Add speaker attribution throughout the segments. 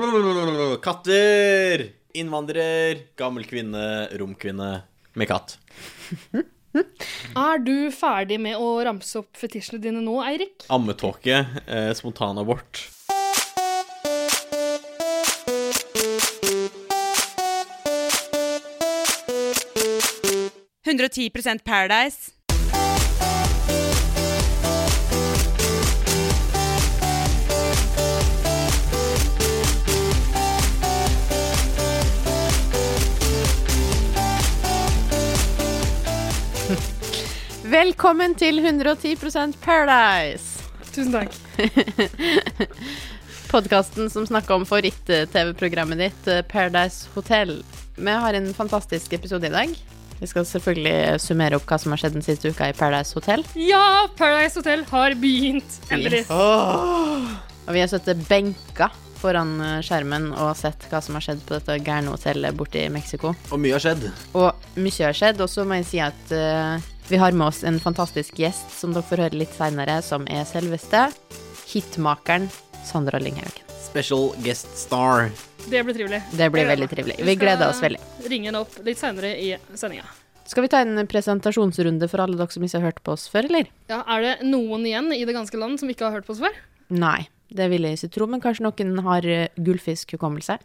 Speaker 1: Brrr, Katter! Innvandrer, gammel kvinne, romkvinne med katt.
Speaker 2: Er du ferdig med å ramse opp fetisjene dine nå, Eirik?
Speaker 1: Ammetåke, eh, spontanabort.
Speaker 3: det. 110 Paradise.
Speaker 4: Velkommen til 110 Paradise!
Speaker 2: Tusen takk.
Speaker 4: Podkasten som snakker om favoritt-TV-programmet ditt, eh, Paradise Hotel. Vi har en fantastisk episode i dag. Vi skal selvfølgelig summere opp hva som har skjedd den siste uka i Paradise Hotel.
Speaker 2: Ja, Paradise Hotel har begynt. Endelig.
Speaker 1: Ah.
Speaker 4: Og vi har sittet benka foran eh, skjermen og sett hva som har skjedd på dette gærne hotellet borte i Mexico.
Speaker 1: Og mye har skjedd.
Speaker 4: Og mye har skjedd, og så må jeg si at eh, vi har med oss en fantastisk gjest som dere får høre litt seinere, som er selveste hitmakeren Sandra Lynghaugen.
Speaker 1: Special guest star.
Speaker 2: Det blir trivelig.
Speaker 4: Det blir
Speaker 2: Jeg gleder
Speaker 4: veldig
Speaker 2: meg.
Speaker 4: trivelig.
Speaker 2: Vi
Speaker 4: Vi
Speaker 2: skal-
Speaker 4: gleder oss veldig.
Speaker 2: Ring henne opp litt seinere i sendinga.
Speaker 4: Skal vi ta en presentasjonsrunde for alle dere som ikke har hørt på oss før, eller?
Speaker 2: Ja, er det noen igjen i det ganske land som ikke har hørt på oss før?
Speaker 4: Nei, det vil jeg ikke tro, men kanskje noen har eh, gullfiskhukommelse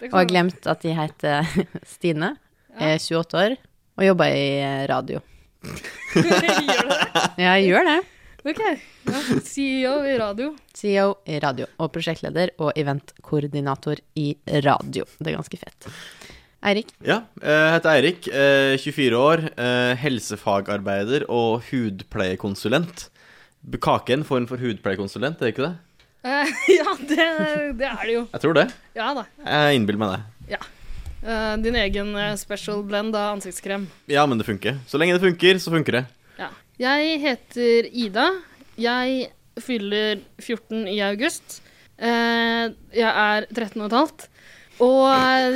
Speaker 2: Det kan
Speaker 4: og har
Speaker 2: være.
Speaker 4: glemt at de heter Stine, er 28 år og jobber i eh, radio.
Speaker 2: Gjør det det?
Speaker 4: Ja, jeg gjør det.
Speaker 2: Ok. Ja, CEO i radio.
Speaker 4: CEO i radio og prosjektleder og eventkoordinator i radio. Det er ganske fett. Eirik,
Speaker 1: Ja, jeg heter Eirik, eh, 24 år, eh, helsefagarbeider og hudpleiekonsulent. B- Kake er en form for hudpleiekonsulent, er det ikke det?
Speaker 2: Eh, ja, det, det er det jo.
Speaker 1: Jeg tror det.
Speaker 2: Ja da.
Speaker 1: Jeg innbiller meg det.
Speaker 2: Eh, din egen eh, special blend av ansiktskrem.
Speaker 1: Ja, men det funker. Så lenge det funker, så funker det.
Speaker 2: Ja. Jeg heter Ida. Jeg fyller 14 i august. Eh, jeg er 13 og et halvt. Og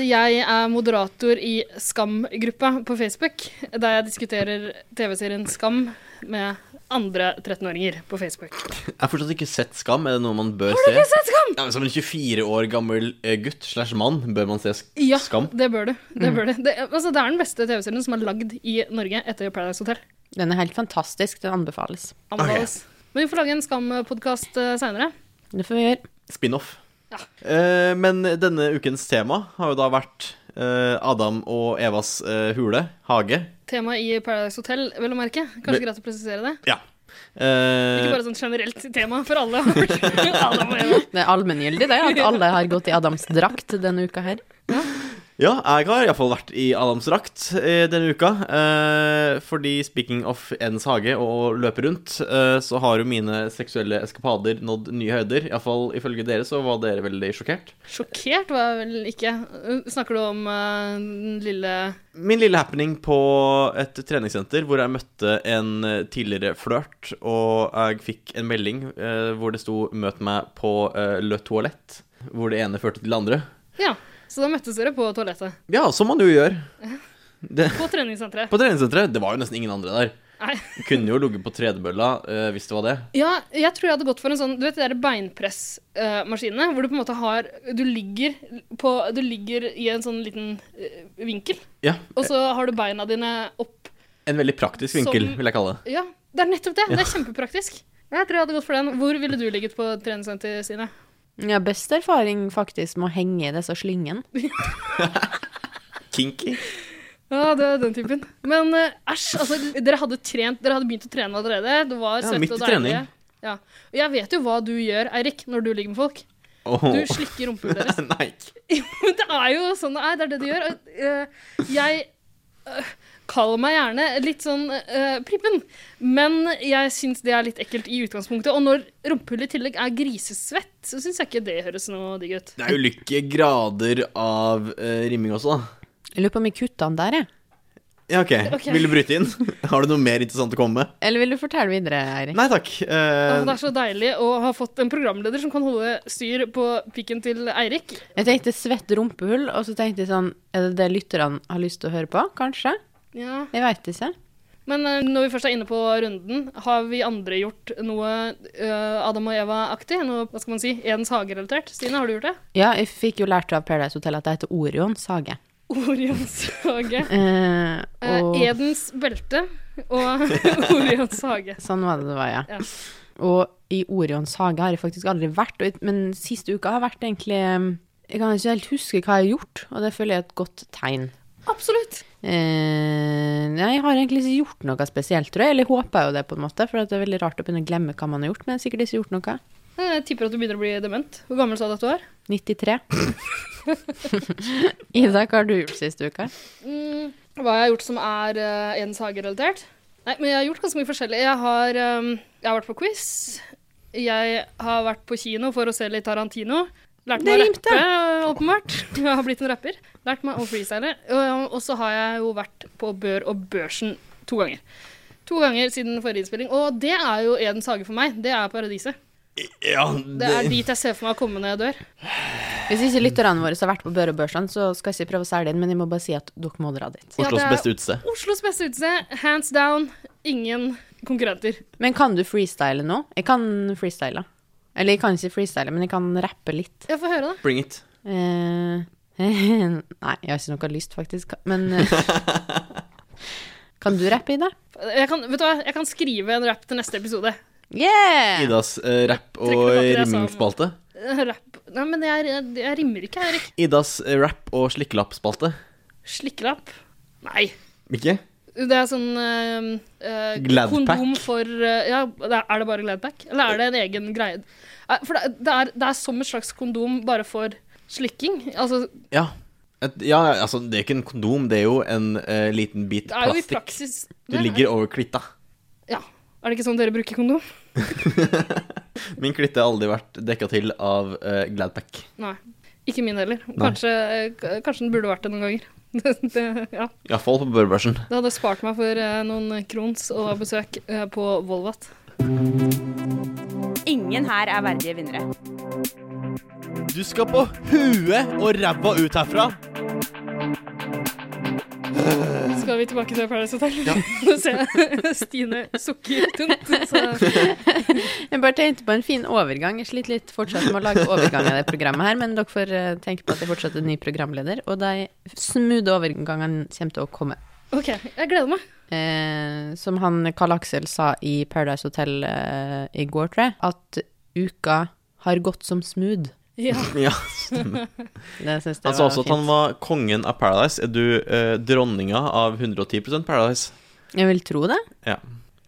Speaker 2: jeg er moderator i Skam-gruppa på Facebook, der jeg diskuterer TV-serien Skam med andre 13-åringer på Facebook.
Speaker 1: Jeg har fortsatt ikke sett Skam. Er det noe man bør se? Har du ikke sett Skam? Ja, men som en 24 år gammel eh, gutt slash mann bør man se sk
Speaker 2: Ja,
Speaker 1: Skam.
Speaker 2: det bør du. Det, bør du. Det, altså, det er den beste TV-serien som er lagd i Norge etter Paradise Hotel.
Speaker 4: den er helt fantastisk. Den anbefales.
Speaker 2: Anbefales. Men vi får lage en Skam-podkast uh, seinere.
Speaker 4: Det får vi gjøre.
Speaker 1: Spin-off.
Speaker 2: Ja.
Speaker 1: Eh, men denne ukens tema har jo da vært eh, Adam og Evas eh, hule, hage.
Speaker 2: Tema i Paradise Hotel, vel å merke. Kanskje
Speaker 1: Men-
Speaker 2: greit å presisere det?
Speaker 1: Ja.
Speaker 2: Ikke
Speaker 1: Eh,
Speaker 2: bare sånn generelt tema for alle. har hørt Adam og Eva.
Speaker 4: Det er allmenngyldig, det, at alle har gått i Adams drakt denne uka her.
Speaker 1: ja, jeg har iallfall vært i Adams drakt eh, denne uka. Eh, fordi speaking of ens hage og å løpe rundt, eh, så har jo mine seksuelle eskapader nådd nye høyder. Iallfall ifølge dere så var dere veldig sjokkert.
Speaker 2: Sjokkert var jeg vel ikke. Uh, Snakker du om eh, den lille
Speaker 1: Min lille happening på et treningssenter hvor jeg møtte en eh, tidligere flørt, og jeg fikk en melding eh, hvor det sto 'møt meg på eh, le toalett', hvor det ene førte til det andre.
Speaker 2: Ja, så da møttes dere på toalettet.
Speaker 1: Ja, som man jo gjør. Det,
Speaker 2: På treningssenteret.
Speaker 1: på treningssenteret. Det var jo nesten ingen andre der.
Speaker 2: Nei.
Speaker 1: Kunne jo ligget på tredemølla eh, hvis det var det.
Speaker 2: Ja, jeg tror jeg hadde gått for en sånn Du vet de der beinpressmaskinene? eh, hvor du på en måte har Du ligger, på, du ligger i en sånn liten eh, vinkel,
Speaker 1: Ja,
Speaker 2: og så har du beina dine opp.
Speaker 1: En veldig praktisk vinkel,
Speaker 2: Som-
Speaker 1: vil jeg kalle det.
Speaker 2: Ja, det er nettopp det. Det er kjempepraktisk. Jeg tror jeg hadde gått for den. Hvor ville du ligget på treningssenter, Stine?
Speaker 4: Ja, best erfaring faktisk med å henge i disse slyngene.
Speaker 1: Kinky.
Speaker 2: Ja, det er den typen. Men eh, æsj, altså, dere hadde, trent, dere hadde begynt å trene allerede. Det var
Speaker 1: Ja,
Speaker 2: søtt
Speaker 1: midt i
Speaker 2: og
Speaker 1: trening.
Speaker 2: deilig. Ja. Og jeg vet jo hva du gjør, Eirik, når du ligger med folk.
Speaker 1: Åh.
Speaker 2: Du slikker rumpehullet deres.
Speaker 1: Nei.
Speaker 2: Men det er jo sånn det er. Det er det du gjør. Og, eh, jeg eh, kaller meg gjerne litt sånn eh, prippen, men jeg syns det er litt ekkelt i utgangspunktet. Og når rumpehullet i tillegg er grisesvett, så syns jeg ikke det høres noe digg ut.
Speaker 1: Det er ulike grader av eh, rimming også, da.
Speaker 4: Jeg lurer på om jeg kutta den der, jeg.
Speaker 1: Ja,
Speaker 2: Ok.
Speaker 1: ok. Vil du bryte inn? Har du noe mer interessant å komme med?
Speaker 4: Eller vil du fortelle videre, Eirik?
Speaker 1: Nei takk.
Speaker 2: Åh,
Speaker 1: Eh,
Speaker 2: Altså, det er så deilig å ha fått en programleder som kan holde styr på pikken til Eirik.
Speaker 4: Jeg tenkte svett rumpehull, og så tenkte jeg sånn Er det det lytterne har lyst til å høre på? Kanskje?
Speaker 2: Ja.
Speaker 4: Jeg veit ikke.
Speaker 2: Men eh, når vi først er inne på runden, har vi andre gjort noe eh, Adam og Eva-aktig? Noe, hva skal man si, Edens hage-relatert? Stine, har du gjort det?
Speaker 4: Ja, jeg fikk jo lært av Paradise Hotel at det heter Orions hage.
Speaker 2: Orions hage.
Speaker 4: Eh,
Speaker 2: Eh,
Speaker 4: og
Speaker 2: Edens belte og Orions hage.
Speaker 4: sånn var det det var, ja.
Speaker 2: Ja.
Speaker 4: Og i Orions hage har jeg faktisk aldri vært, og, jeg- men siste uka har vært egentlig eh, Jeg kan ikke helt huske hva jeg har gjort, og det føler jeg er et godt tegn.
Speaker 2: Absolutt.
Speaker 4: Eh, nei, jeg har egentlig ikke gjort noe spesielt, tror jeg. Eller jeg håper jo det, på en måte, for at det er veldig rart å begynne å glemme hva man har gjort. Men jeg har sikkert ikke gjort noe.
Speaker 2: Eh, Jeg tipper at du begynner å bli dement. Hvor gammel sa du at du var?
Speaker 4: 93. Ida, hva har du gjort siste uka?
Speaker 2: Mm, hva jeg har gjort som er eh, Edens hage-relatert? Nei, men jeg har gjort ganske mye forskjellig. Jeg har, eh, jeg har vært på quiz. Jeg har vært på kino for å se litt Tarantino. Lært meg å
Speaker 4: Det rimte.
Speaker 2: rappe, eh, åpenbart. Jeg har blitt en rapper. Lært meg å freestyle. Og- Og så har jeg jo vært på Bør og Børsen to ganger. To ganger siden forrige innspilling. Og det er jo Edens hage for meg. Det er paradiset.
Speaker 1: Ja,
Speaker 2: Det er dit jeg ser for meg å komme når jeg dør.
Speaker 4: Hvis ikke lytterne våre har vært på Børe og Børsan, så skal jeg ikke prøve å selge inn, men jeg må bare si at dere må dra dit.
Speaker 2: Ja,
Speaker 1: Oslos
Speaker 2: det er-
Speaker 1: beste utested.
Speaker 2: Oslos beste utested. Hands down. Ingen konkurrenter.
Speaker 4: Men kan du freestyle nå? Jeg kan freestyle. Eller jeg kan ikke freestyle, men jeg kan rappe litt.
Speaker 2: Jeg får høre, da.
Speaker 1: Bring it.
Speaker 4: Eh, nei, jeg har ikke noe lyst, faktisk. Men eh, Kan du rappe, Ida?
Speaker 2: Jeg kan, vet du hva, jeg kan skrive en rap til neste episode.
Speaker 4: Yeah!
Speaker 1: Idas eh, rapp
Speaker 2: Trekker
Speaker 1: og
Speaker 2: tilbake det jeg sa om-
Speaker 1: rimmingsspalte.
Speaker 2: Eh, Rap Nei, men jeg, jeg, jeg rimmer ikke, Erik.
Speaker 1: Idas eh, rapp og slikkelappspalte.
Speaker 2: Slikkelapp? Nei.
Speaker 1: Ikke?
Speaker 2: Det er sånn eh, eh,
Speaker 1: Gladpack?
Speaker 2: Kondom for eh, Ja, det er er det bare Gladpack? Eller er det en egen greie? Eh, For det, det, er, det er som et slags kondom bare for slikking. Altså,
Speaker 1: Ja. Et, ja, altså, det er jo ikke en kondom, det er jo en eh, liten bit
Speaker 2: det er jo i
Speaker 1: plastikk.
Speaker 2: praksis
Speaker 1: Du
Speaker 2: det er-
Speaker 1: ligger over klitta.
Speaker 2: Ja. Er det ikke sånn dere bruker kondom?
Speaker 1: Min klitte har aldri vært dekka til av eh, Gladpack.
Speaker 2: Nei. Ikke min heller.
Speaker 1: Nei.
Speaker 2: Kanskje, eh, k- kanskje den burde vært det noen ganger. Det, det, ja.
Speaker 1: Iallfall på børbørsen.
Speaker 2: Det hadde spart meg for eh, noen krons og besøk eh, på Volvat.
Speaker 3: Ingen her er verdige vinnere.
Speaker 1: Du skal på huet og ræva ut herfra.
Speaker 2: Skal vi tilbake til Paradise Hotel? Nå ser jeg Stine sukker tungt. Så
Speaker 4: Jeg bare tenkte på en fin overgang. Jeg sliter litt fortsatt med å lage overgang i det programmet her, men dere får eh, tenke på at jeg fortsatt er ny programleder, og de smoothe overgangene kommer til å komme.
Speaker 2: OK, jeg gleder meg.
Speaker 4: Eh, som han Karl Aksel sa i Paradise Hotel eh, i går, tror jeg, at uka har gått som smooth.
Speaker 2: Ja.
Speaker 1: Ja.
Speaker 4: Det syns jeg
Speaker 1: Han sa
Speaker 4: var
Speaker 1: også at
Speaker 4: fint.
Speaker 1: han var kongen av Paradise. Er du eh, dronninga av 110 Paradise?
Speaker 4: Jeg vil tro det.
Speaker 1: Ja.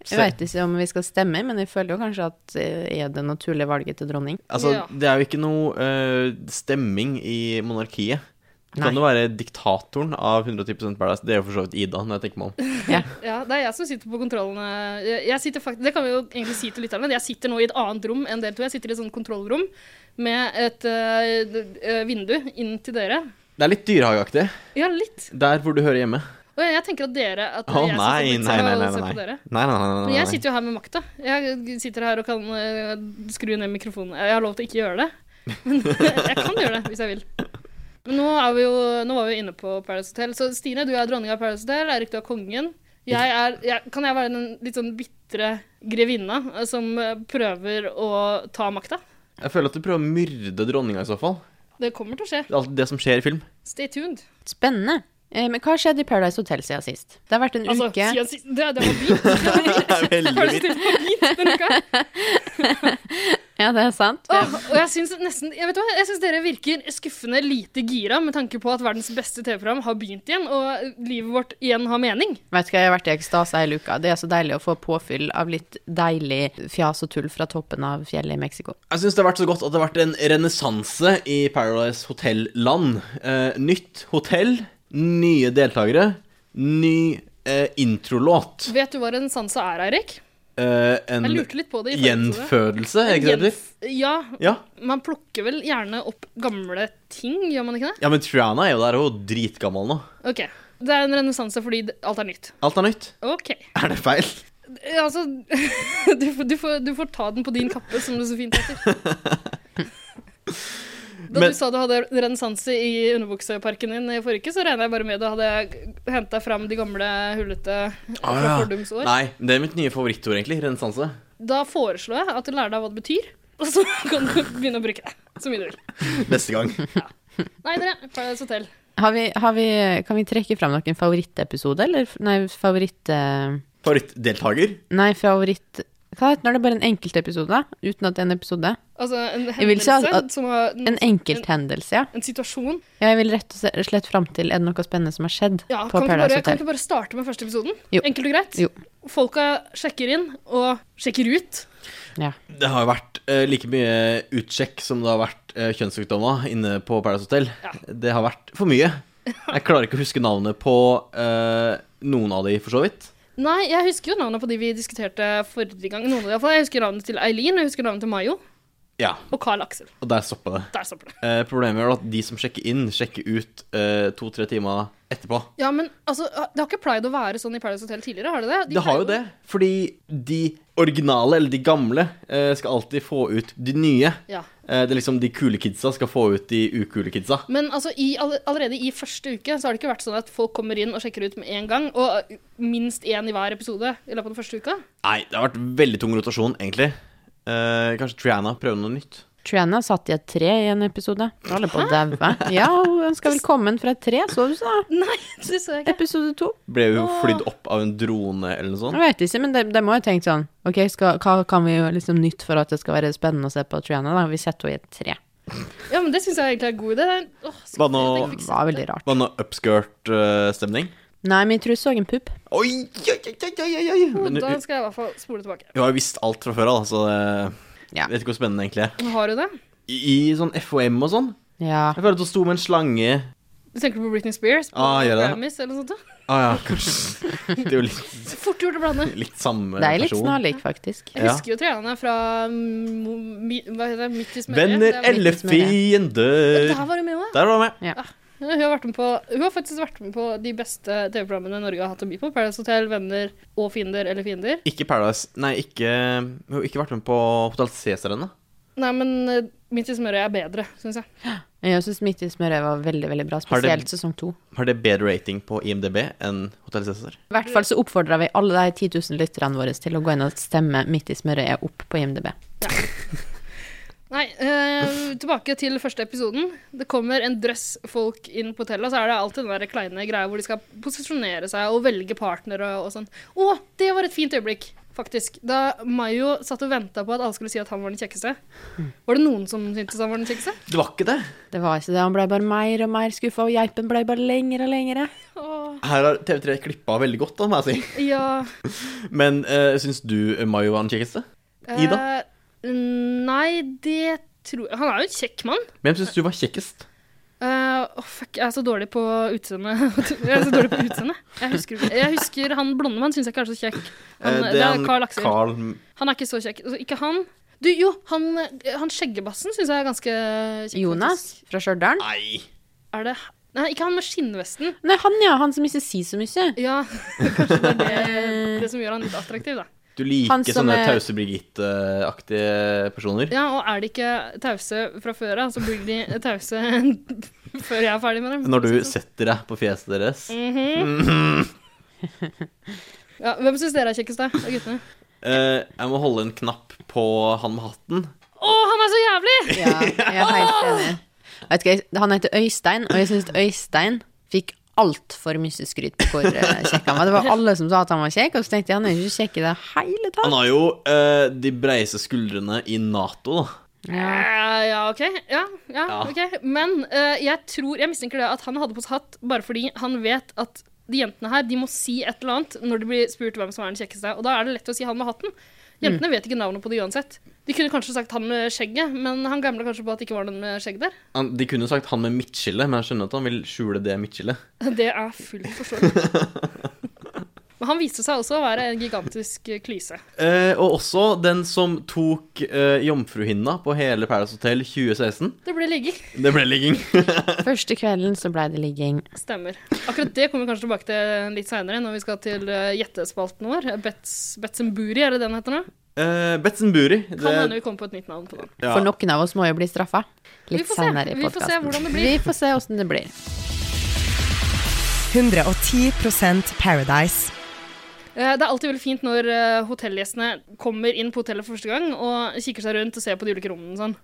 Speaker 4: Jeg veit ikke om vi skal stemme, men jeg føler jo kanskje at eh, er det naturlige valget til dronning.
Speaker 1: Altså,
Speaker 2: Ja.
Speaker 1: det er jo ikke noe eh, stemming i monarkiet. Det
Speaker 4: Nei.
Speaker 1: kan jo være diktatoren av 110 Paradise. Det er jo for så vidt Ida, når jeg tenker meg om.
Speaker 2: ja, det er jeg som sitter på kontrollene. Jeg jeg sitter fakt det kan vi jo egentlig si til lytterne. men Jeg sitter nå i et annet rom enn dere to. Jeg sitter i et sånt kontrollrom med et eh, d- eh, vindu inn til dere.
Speaker 1: Det er litt dyrehageaktig.
Speaker 2: Ja, litt.
Speaker 1: Der hvor du hører hjemme.
Speaker 2: Og jeg, jeg tenker at dere at
Speaker 1: Å
Speaker 2: jeg
Speaker 1: nei, nei,
Speaker 2: sitter
Speaker 1: nei, nei, nei,
Speaker 2: og ser
Speaker 1: nei.
Speaker 2: på
Speaker 1: nei,
Speaker 2: dere.
Speaker 1: nei, nei, nei,
Speaker 2: Men
Speaker 1: nei,
Speaker 2: jeg sitter jo her med makta. Jeg sitter her og kan eh, skru ned mikrofonen. Jeg har lov til å ikke gjøre det, men jeg kan gjøre det hvis jeg vil. Men nå, er vi jo, nå var vi jo inne på Paradise Hotel, så Stine, du er dronninga av Paradise Hotel. Eirik, du er kongen. Jeg er, jeg, kan jeg være den litt sånn bitre grevinna eh, som eh, prøver å ta makta?
Speaker 1: Jeg føler at du prøver å myrde dronninga i så fall.
Speaker 2: Det kommer til å skje.
Speaker 1: Det er alltid det som skjer i film.
Speaker 2: Stay tuned.
Speaker 4: Spennende. Eh, Men hva har skjedd i Paradise Hotel siden sist? Det har vært en
Speaker 2: Altså,
Speaker 4: uke
Speaker 2: siden sist Det, det var fint.
Speaker 1: Veldig
Speaker 2: Paradise
Speaker 1: vidt.
Speaker 2: Hotel var fint denne uka.
Speaker 4: Ja, det er sant.
Speaker 2: Åh, og jeg syns nesten jeg vet hva, jeg synes dere virker skuffende lite gira med tanke på at verdens beste TV-program har begynt igjen, og livet vårt igjen har mening.
Speaker 4: Vet du hva, jeg har vært i ekstase hele uka. Det er så deilig å få påfyll av litt deilig fjas og tull fra toppen av fjellet i Mexico.
Speaker 1: Jeg syns det har vært så godt at det har vært en renessanse i Paradise Hotel-land. Eh, nytt hotell, nye deltakere, ny eh, introlåt.
Speaker 2: Vet du hva en sansa er, Eirik?
Speaker 1: Eh, en
Speaker 2: Jeg lurte litt på det. i forrige episode.
Speaker 1: gjenfødelse, er ikke det det? heter?
Speaker 2: Gjenf- Ja,
Speaker 1: Ja.
Speaker 2: man plukker vel gjerne opp gamle ting, gjør man ikke det?
Speaker 1: ja, men Triana er jo der, hun er jo dritgammel nå.
Speaker 2: Ok, Det er en renessanse fordi det- alt er nytt.
Speaker 1: Alt er nytt.
Speaker 2: Ok.
Speaker 1: Er det feil?
Speaker 2: Eh, Altså, du, får- du, får, du får ta den på din kappe, som det så fint heter. Da
Speaker 1: Men-
Speaker 2: du sa du hadde renessanse i underbukseparken din i forrige uke, så regner jeg bare med du hadde henta fram de gamle hullete
Speaker 1: Ah,
Speaker 2: fra
Speaker 1: ja.
Speaker 2: fordums år.
Speaker 1: Nei, det er mitt nye favorittord, egentlig. Renessanse.
Speaker 2: Da foreslår jeg at du lærer deg hva det betyr, og så kan du begynne å bruke det så mye du vil.
Speaker 1: Neste gang.
Speaker 2: Nei, dere, Paradise Hotel.
Speaker 4: Har vi, har vi, kan vi trekke fram noen favorittepisode, eller f- Nei, favoritt... eh,
Speaker 1: Favorittdeltaker?
Speaker 4: Nei, favoritt... Hva heter det? Når det er bare en enkeltepisode, uten at det er en episode?
Speaker 2: Altså en
Speaker 4: Jeg vil si at-
Speaker 2: hendelse som har en,
Speaker 4: En enkelthendelse, ja.
Speaker 2: en situasjon.
Speaker 4: Ja, Jeg vil rett og slett fram til er det noe spennende som har skjedd
Speaker 2: Ja, kan
Speaker 4: på
Speaker 2: vi, ikke
Speaker 4: Paradise
Speaker 2: bare, kan vi
Speaker 4: Hotel.
Speaker 2: ikke bare starte med første episoden?
Speaker 4: Jo.
Speaker 2: Enkelt og greit.
Speaker 4: Jo.
Speaker 2: Folka sjekker inn og sjekker ut.
Speaker 4: Ja.
Speaker 1: Det har jo vært eh, like mye utsjekk som det har vært uh, kjønnssykdommer inne på Paradise Hotel.
Speaker 2: Ja.
Speaker 1: Det har vært for mye. Jeg klarer ikke å huske navnet på eh, noen av de, for så vidt.
Speaker 2: Nei, jeg husker jo navnet på de vi diskuterte forrige gang. Noen av de, i hvert fall. Jeg husker navnet til Eileen, og jeg husker navnet til Mayo
Speaker 1: Ja,
Speaker 2: og Carl Aksel.
Speaker 1: og der stoppa det.
Speaker 2: Der stopper det.
Speaker 1: Eh, problemet er at de som sjekker inn, sjekker ut eh, to-tre timer etterpå.
Speaker 2: Ja, men altså, Det har ikke pleid å være sånn i Paradise Hotel tidligere, har det det? De
Speaker 1: Det har jo
Speaker 2: pleier
Speaker 1: det, fordi de originale, eller de gamle, eh, skal alltid få ut de nye.
Speaker 2: Ja.
Speaker 1: Eh, det er liksom de kule kidsa skal få ut de ukule kidsa.
Speaker 2: Men altså, i, all- allerede i første uke så har det ikke vært sånn at folk kommer inn og sjekker ut med en gang. Og uh, minst én i hver episode i løpet av den første uka.
Speaker 1: Nei, det har vært veldig tung rotasjon, egentlig. Eh, kanskje Triana prøver noe nytt.
Speaker 4: Triana satt i et tre i en episode. Hun holder på å daue. Ja, hun ønska velkommen fra et tre, så du sa.
Speaker 2: Nei, det så jeg ikke.
Speaker 4: Episode to.
Speaker 1: Ble jo flydd opp av en drone eller noe
Speaker 4: Jeg
Speaker 1: sånt.
Speaker 4: vet ikke, men de, de må jo tenke sånn Ok, skal, hva kan vi gjøre liksom nytt for at det skal være spennende å se på Triana? Da vi setter henne i et tre.
Speaker 2: Ja, men Det syns jeg egentlig er en god idé. Det er- Åh, så
Speaker 1: Hva
Speaker 2: fint
Speaker 1: nå-
Speaker 2: at jeg ikke fikk
Speaker 4: Det
Speaker 2: sett
Speaker 4: var
Speaker 2: det.
Speaker 4: veldig rart.
Speaker 1: Var det noe upskirt-stemning?
Speaker 4: Nei, men jeg tror jeg så en pupp.
Speaker 1: Oi, oi, oi, oi, oi, oi! Men
Speaker 2: Da
Speaker 1: hun
Speaker 2: skal jeg i hvert fall spole tilbake.
Speaker 1: hun har jo visst alt fra før av, så
Speaker 4: Ja.
Speaker 1: jeg vet ikke hvor spennende det egentlig er.
Speaker 2: Har du det?
Speaker 1: I, i sånn FOM og sånn
Speaker 4: Ja.
Speaker 1: Jeg føler at hun sto med en slange
Speaker 2: Du tenker på Britney Spears? På
Speaker 1: Ah, gjør jeg det?
Speaker 2: Grammys eller noe sånt? da?
Speaker 1: Ah ja, kanskje. Det er jo litt,
Speaker 2: Fort gjort å blande.
Speaker 1: litt samme
Speaker 4: Det er litt
Speaker 1: person.
Speaker 4: snarlik, faktisk.
Speaker 2: Jeg
Speaker 1: Ja.
Speaker 2: husker jo Triana fra mm, mi, Hva heter det? Midt i smøret. Det
Speaker 1: Venner
Speaker 2: er-
Speaker 1: eller
Speaker 4: litt mer det.
Speaker 1: fiender
Speaker 2: Der var hun med òg.
Speaker 1: Der var hun med.
Speaker 2: Hun, har vært med på- hun har faktisk vært med på de beste TV-programmene Norge har hatt å by på. Paradise Hotel, Venner og Fiender eller Fiender.
Speaker 1: Ikke Paradise Nei, ikke Hun har ikke vært med på Hotell Cæsar ennå.
Speaker 2: Nei, men eh, Midt i smøret er bedre, syns jeg.
Speaker 4: Jeg syns Midt i smøret var veldig, veldig bra.
Speaker 1: Har det-
Speaker 4: Spesielt sesong to.
Speaker 1: Har det bedre rating på IMDb enn Hotell Cæsar?
Speaker 4: I hvert fall så oppfordrer vi alle de 10 000 lytterne våre til å gå inn og stemme midt i smøret er opp på IMDb.
Speaker 2: Nei, eh, tilbake til første episoden. Det kommer en drøss folk inn på hotellet, og så er det alltid den der kleine greia hvor de skal posisjonere seg og velge partnere og, og sånn. Å, det var et fint øyeblikk, faktisk. Da Mayo satt og venta på at alle skulle si at han var den kjekkeste. Var det noen som syntes han var den kjekkeste?
Speaker 1: Det var ikke det.
Speaker 4: Det var ikke det, han ble bare mer og mer skuffa, og geipen ble bare lengre og lengre.
Speaker 2: Åh,
Speaker 1: Her har TV3 klippa veldig godt, da, må jeg si.
Speaker 2: ja.
Speaker 1: Men uh, syns du Mayo var den kjekkeste? Ida?
Speaker 2: Eh, nei, det tror jeg Han er jo en kjekk mann.
Speaker 1: Hvem syns du var kjekkest?
Speaker 2: Eh, åh, fuck, jeg er så dårlig på utseende. jeg er så dårlig på utseende. Jeg husker, ikke- jeg husker han blonde mannen syns jeg ikke er så kjekk. Han,
Speaker 1: Eh,
Speaker 2: det, er Carl Aksel.
Speaker 1: Carl
Speaker 2: Han er ikke så kjekk. Altså, ikke han. Du, jo, han, han skjeggebassen syns jeg er ganske kjekk.
Speaker 4: Jonas
Speaker 2: faktisk.
Speaker 4: fra Stjørdal.
Speaker 1: Nei.
Speaker 2: Er det Nei, ikke han med skinnvesten.
Speaker 4: Nei, han ja, han som ikke sier så mye.
Speaker 2: Ja, kanskje det er det, det som gjør han litt attraktiv, da.
Speaker 1: Du
Speaker 4: Han
Speaker 1: liker
Speaker 4: som
Speaker 1: sånne
Speaker 4: er-
Speaker 1: tause Birgitte-aktige personer?
Speaker 2: Ja, og er de ikke tause fra før av, så blir de tause før jeg er ferdig med dem.
Speaker 1: Når
Speaker 4: Sånn
Speaker 1: du setter deg på fjeset deres?
Speaker 4: Mm.
Speaker 2: Ja, hvem syns dere er kjekkest, da? Av guttene?
Speaker 1: Eh, jeg må holde en knapp på han med hatten.
Speaker 2: Å, han er så jævlig!
Speaker 4: Ja, jeg er helt enig. Vet ikke, jeg- han heter Øystein, og jeg syns Øystein fikk altfor mye skryt på hvor eh, kjekk han var. Det var alle som sa at han var kjekk, og så tenkte jeg han er jo ikke kjekk i det hele
Speaker 1: Han
Speaker 4: tatt.
Speaker 1: har jo eh, de breise skuldrene i Nato, da.
Speaker 4: Ja.
Speaker 2: Ja, Eh, ja OK. Ja, ja,
Speaker 1: Ja.
Speaker 2: ok. Men eh, jeg tror, jeg mistenker det at han hadde på seg hatt bare fordi han vet at de jentene her de må si et eller annet når de blir spurt hvem som er den kjekkeste. Og da er det lett å si han med hatten. Jentene vet ikke navnet på det uansett. De kunne kanskje sagt han med skjegget, men han gamla kanskje på at det ikke var noen med skjegg der.
Speaker 1: Han, de kunne jo sagt han med midtskille, men jeg skjønner at han vil skjule det midtskillet.
Speaker 2: Det er fullt forståelig. Men han viste seg også å være en gigantisk klyse.
Speaker 1: Eh, og også den som tok eh, jomfruhinna på hele Paradise Hotel 2016.
Speaker 2: Det ble ligging.
Speaker 1: Det ble ligging.
Speaker 4: Første kvelden så ble det ligging.
Speaker 2: Stemmer. Akkurat det kommer vi kanskje tilbake til litt seinere, når vi skal til eh, gjettespalten vår. Bets, Bets and Booty, Eh, er det den heter nå?
Speaker 1: Eh, Betzenburi. det-
Speaker 2: Kan hende vi kommer på et nytt navn på den.
Speaker 1: ja.
Speaker 4: For noen av oss må jo bli straffa.
Speaker 2: Vi
Speaker 4: Litt
Speaker 2: får se.
Speaker 4: senere i
Speaker 2: Vi får se
Speaker 4: podcasten.
Speaker 2: hvordan det blir.
Speaker 4: Vi får se hvordan det blir.
Speaker 5: 110 Paradise.
Speaker 2: Eh, Det er alltid veldig fint når eh, hotellgjestene kommer inn på hotellet for første gang og kikker seg rundt og ser på de ulike rommene. og Sånn.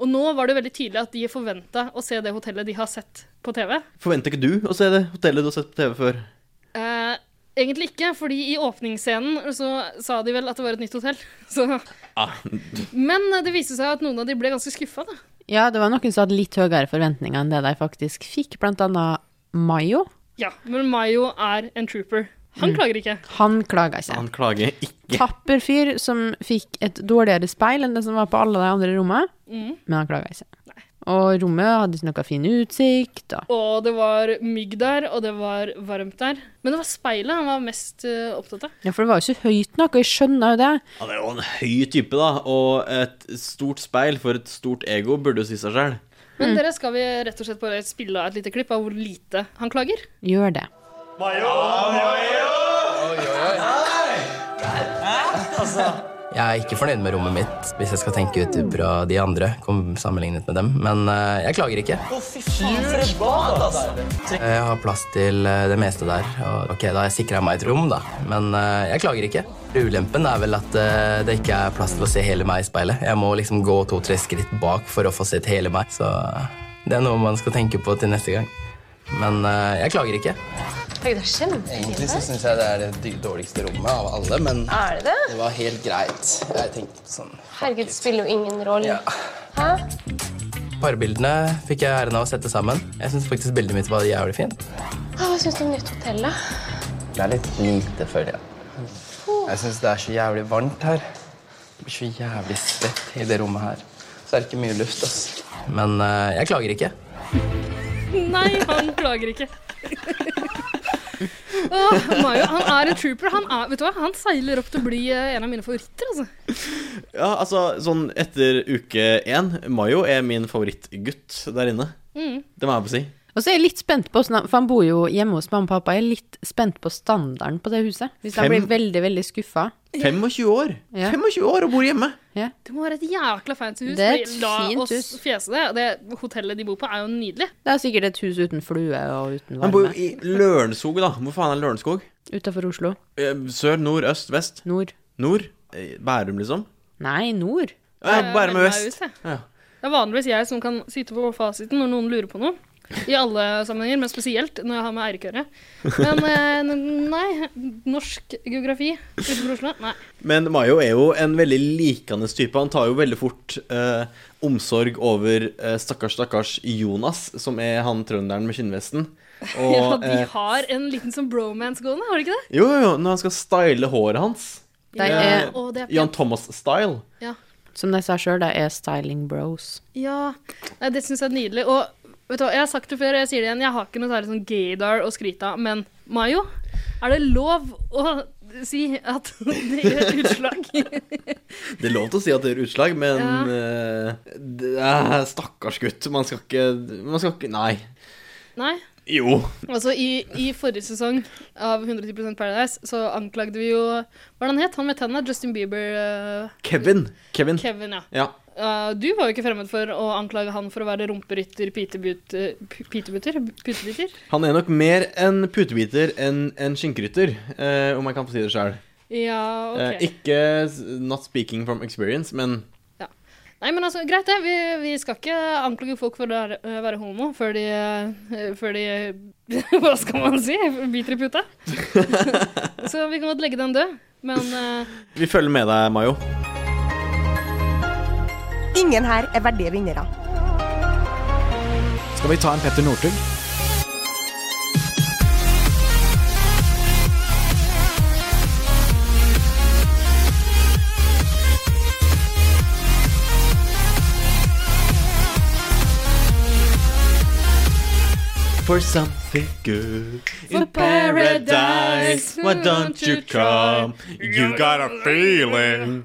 Speaker 2: Og nå var det veldig tydelig at de forventa å se det hotellet de har sett på TV.
Speaker 1: Forventer ikke du å se det hotellet du har sett på TV før?
Speaker 2: Eh, egentlig ikke, fordi i åpningsscenen så sa de vel at det var et nytt hotell. Så.
Speaker 1: Ah.
Speaker 2: Men eh, det viste seg at noen av de ble ganske skuffa. da.
Speaker 4: Ja, det var noen som hadde litt høyere forventninger enn det de faktisk fikk, blant annet Mayo.
Speaker 2: Ja, men Mayo er en trooper. Han klager ikke.
Speaker 4: Han klaga ikke.
Speaker 1: Han klager ikke.
Speaker 4: Tapper fyr som fikk et dårligere speil enn det som var på alle de andre rommene,
Speaker 2: Mm.
Speaker 4: men han klaga ikke. Og rommet hadde ikke noe fin utsikt. Og
Speaker 2: Og det var mygg der, og det var varmt der. Men det var speilet han var mest eh, opptatt av.
Speaker 4: ja, for det var jo ikke høyt nok, og jeg skjønner jo det.
Speaker 1: Han er jo en høy type, da, og et stort speil for et stort ego burde jo si seg sjøl.
Speaker 4: Mm.
Speaker 2: Men dere skal vi rett og slett bare spille av et lite klipp av hvor lite han klager.
Speaker 4: Gjør det.
Speaker 6: Jeg er ikke fornøyd med rommet mitt, hvis jeg skal tenke ut fra de andre. kom- sammenlignet med dem, Men eh, jeg klager ikke. Eh, Jeg har plass til eh, det meste der. Og, ok, Da har jeg sikra meg et rom, da. Men eh, jeg klager ikke. Ulempen er vel at eh, det ikke er plass til å se hele meg i speilet. Jeg må liksom gå to-tre skritt bak for å få sett hele meg. Så eh, det er noe man skal tenke på til neste gang. Men eh, jeg klager ikke. Egentlig så syns jeg det er det dårligste rommet av alle, men
Speaker 7: Er det det?
Speaker 6: det var helt greit. Jeg tenkte sånn
Speaker 7: Herregud, det spiller jo ingen rolle.
Speaker 6: Ja.
Speaker 7: Hæ?
Speaker 6: Parbildene fikk jeg æren av å sette sammen. Jeg syns faktisk bildet mitt var jævlig fint.
Speaker 7: Å, Hva syns du om nytt hotell, da?
Speaker 6: Det er litt lite, føler jeg. Jeg syns det er så jævlig varmt her. Jeg blir så jævlig svett i det rommet her. Så er det ikke mye luft, ass. Men eh, jeg klager ikke.
Speaker 2: Nei, han klager ikke. Åh, Mayo, han er en trooper. Han, er, vet du hva? han seiler opp til å bli eh, en av mine favoritter. Altså.
Speaker 1: Ja, altså, sånn etter uke én Mayo er min favorittgutt der inne. Det må jeg på si.
Speaker 4: Og så er jeg litt spent på, hvordan han- for han bor jo hjemme hos mamma og pappa, jeg er litt spent på standarden på det huset. Hvis han
Speaker 1: Fem-
Speaker 4: blir veldig, veldig skuffa.
Speaker 1: 25 år!
Speaker 4: Ja.
Speaker 1: 25 år og bor hjemme!
Speaker 4: Ja.
Speaker 2: Det må være et jækla fancy hus.
Speaker 4: Det er et
Speaker 2: fordi La
Speaker 4: fint
Speaker 2: oss
Speaker 4: hus.
Speaker 2: fjese det. Det hotellet de bor på, er jo nydelig.
Speaker 4: Det er sikkert et hus uten flue og uten
Speaker 1: Han bor jo
Speaker 4: varme.
Speaker 1: i Lørenskog, da. Hvor faen er Lørenskog?
Speaker 4: Utafor Oslo.
Speaker 1: Eh, Sør, nord, øst, vest?
Speaker 4: Nord.
Speaker 1: Nord? Eh, Bærum, liksom?
Speaker 4: Nei, nord.
Speaker 1: Ja, Bærum
Speaker 2: Jeg melder
Speaker 1: er
Speaker 2: meg
Speaker 1: vest.
Speaker 2: ut, jeg.
Speaker 1: Ja.
Speaker 2: Det er vanligvis jeg som kan sitte på fasiten når noen lurer på noe. I alle sammenhenger, men spesielt når jeg har med Eirik å gjøre. Men eh, n- nei, norsk geografi utenfor Oslo? Nei.
Speaker 1: Men Mayo er jo en veldig likende type. Han tar jo veldig fort eh, omsorg over eh, stakkars, stakkars Jonas, som er han trønderen med skinnvesten. Og,
Speaker 2: Ja, de
Speaker 1: eh,
Speaker 2: har en liten sånn bromance gående, har de ikke det?
Speaker 1: jo, jo, jo, når han skal style håret hans.
Speaker 4: De er,
Speaker 2: Eh, Å, det er
Speaker 1: eh, Jan
Speaker 2: pent.
Speaker 1: Thomas-style.
Speaker 2: Ja.
Speaker 4: som de sa sjøl, de er styling bros.
Speaker 2: ja. Nei, det syns jeg er nydelig. Og vet du hva, jeg har sagt det før, og jeg sier det igjen, jeg har ikke noe særlig sånn gaydar å skryte av, men Mayo, er det lov å si at det gjør utslag?
Speaker 1: Det er lov til å si at det gjør utslag, men
Speaker 2: Ja.
Speaker 1: eh, det er Stakkars gutt. Man skal ikke Man skal ikke Nei.
Speaker 2: Nei?
Speaker 1: Jo.
Speaker 2: Altså, i, I forrige sesong av 110 Paradise så anklagde vi jo Hva er det han het? Han med tenna? Justin Bieber? eh,
Speaker 1: Kevin. Kevin.
Speaker 2: Kevin, ja.
Speaker 1: Mm. Ja.
Speaker 2: Eh, du var jo ikke fremmed for å anklage han for å være rumperytter, pitebut, eh, p- pitebutter? Putebytter?
Speaker 1: Han er nok mer en putebiter enn en skinkerytter, eh, om jeg kan få si det sjøl.
Speaker 2: Ja,
Speaker 1: Eh,
Speaker 2: OK.
Speaker 1: ikke s- not speaking from experience, men
Speaker 2: Nei, men altså, greit det. Vi, vi skal ikke anklage folk for å være, eh, være homo før de, eh, før de Hva skal man si? Biter i puta. så vi kan godt legge den død. Men eh,
Speaker 1: vi følger med deg, Mayo.
Speaker 5: Ingen her er verdige vinnere.
Speaker 8: Skal vi ta en Petter Northug?
Speaker 1: For something good
Speaker 2: For paradise, why don't you come? You got a feeling.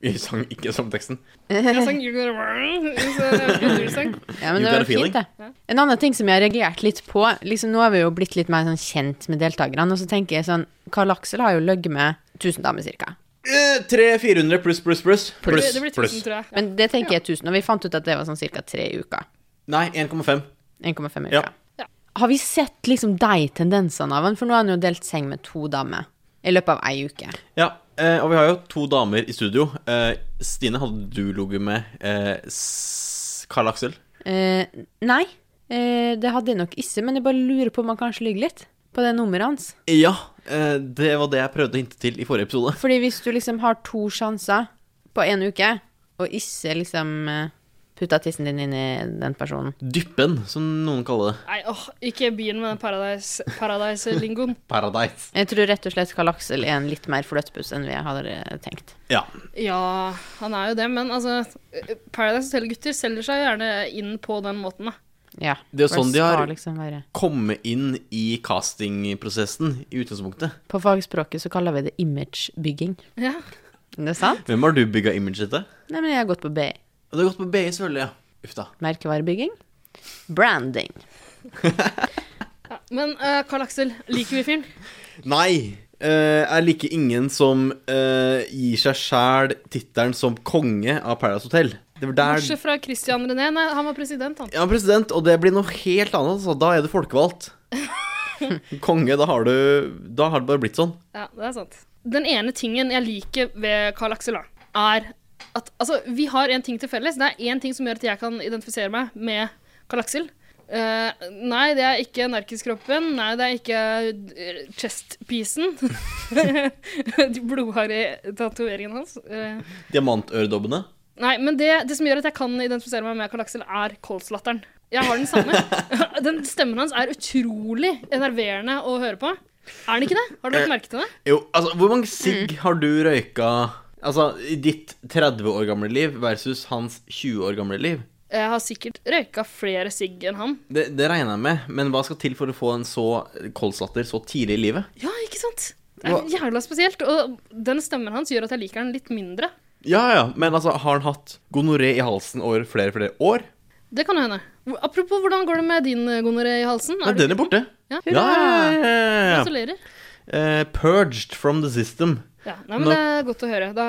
Speaker 1: Vi sang ikke som teksten.
Speaker 2: jeg sang You Got Around, så det er en kul sang.
Speaker 4: Ja,
Speaker 1: You
Speaker 4: men det
Speaker 1: got
Speaker 4: var
Speaker 1: a feeling?
Speaker 4: fint, det. En annen ting som jeg har reagert litt på liksom Nå har vi jo blitt litt mer sånn kjent med deltakerne, og så tenker jeg sånn Karl Aksel har jo løyet med 1000 damer, cirka.
Speaker 1: Eh, 300-400 pluss, pluss, pluss.
Speaker 2: Det,
Speaker 1: Pluss,
Speaker 2: det blir 1000,
Speaker 1: pluss.
Speaker 2: tror jeg.
Speaker 4: Men det tenker jeg er 1000, og vi fant ut at det var sånn ca. tre uker.
Speaker 1: Nei, 1,5.
Speaker 4: 1,5 uker.
Speaker 1: Ja.
Speaker 2: Ja.
Speaker 4: Har vi sett liksom de tendensene av han? For nå har han jo delt seng med to damer i løpet av ei uke.
Speaker 1: Ja, eh, og vi har jo to damer i studio. Eh, Stine, hadde du ligget med eh, s- Karl Aksel?
Speaker 4: Eh, nei, eh, det hadde jeg nok ikke, men jeg bare lurer på om han kanskje ligger litt på det nummeret hans.
Speaker 1: Ja, eh, det var det jeg prøvde å hinte til i forrige episode.
Speaker 4: Fordi hvis du liksom har to sjanser på én uke, og ikke liksom eh, putter tissen din inn i den personen
Speaker 1: Dyppen, som noen kaller det.
Speaker 2: Nei, åh, ikke begynn med den paradise- paradise-lingoen.
Speaker 1: Paradise.
Speaker 4: Jeg tror rett og slett Karl Aksel er en litt mer fløtepuss enn vi hadde eh, tenkt.
Speaker 1: Ja.
Speaker 2: ja, han er jo det, men altså Paradise Hotel-gutter selger seg gjerne inn på den måten, da.
Speaker 4: Ja.
Speaker 1: Det er jo
Speaker 4: for
Speaker 1: sånn de har-
Speaker 4: skal liksom være.
Speaker 1: Komme inn i castingprosessen i utgangspunktet.
Speaker 4: På fagspråket så kaller vi det imagebygging.
Speaker 2: Ja.
Speaker 4: Er det sant?
Speaker 1: Hvem har du bygga imaget til?
Speaker 4: Nei, men jeg har gått på BI.
Speaker 1: Du har gått på BI Sørli, ja. Uff da.
Speaker 4: Merkevarebygging. Branding.
Speaker 2: Men eh, Karl Aksel, liker vi fyren?
Speaker 1: Nei. eh, jeg liker ingen som eh, gir seg sjæl tittelen som konge av Paradise Hotel. Det var der
Speaker 2: Bortsett fra Christian René. Nei, han var president, han.
Speaker 1: Ja, president, og det blir noe helt annet. Altså. Da er du folkevalgt. Konge, da har du Da har det bare blitt sånn.
Speaker 2: Ja, det er sant. Den ene tingen jeg liker ved Karl Aksel, da, er at altså, vi har en ting til felles. Det er én ting som gjør at jeg kan identifisere meg med Karl Aksel. Eh, nei, det er ikke narkiskroppen. Nei, det er ikke eh, chestpiecen. De blodharde tatoveringene hans. Eh,
Speaker 1: Diamantøredobbene.
Speaker 2: nei, men det, det som gjør at jeg kan identifisere meg med Karl Aksel, er kolslatteren. Jeg har den samme. den stemmen hans er utrolig enerverende å høre på. Er den ikke det? Har du lagt merke til det?
Speaker 1: Jo, altså, hvor mange sigg har du røyka Altså, i ditt 30 år gamle liv versus hans 20 år gamle liv?
Speaker 2: Jeg Eh, har sikkert røyka flere sigg enn han.
Speaker 1: Det, det regner jeg med, men hva skal til for å få en så kolslatter så tidlig i livet?
Speaker 2: Ja, ikke sant? Det er jævla spesielt. Og den stemmen hans gjør at jeg liker den litt mindre.
Speaker 1: Ja ja, men altså, har han hatt gonoré i halsen over flere flere år?
Speaker 2: Det kan hende. Hvor- Apropos, hvordan går det med din eh, gonoré i halsen? Er
Speaker 1: Nei,
Speaker 2: du-
Speaker 1: den er borte.
Speaker 2: Ja.
Speaker 1: ja, ja, ja, ja, ja.
Speaker 2: Gratulerer.
Speaker 1: Eh, purged from the system.
Speaker 2: Ja, nei, men
Speaker 1: Nå-
Speaker 2: Det er godt å høre. Da,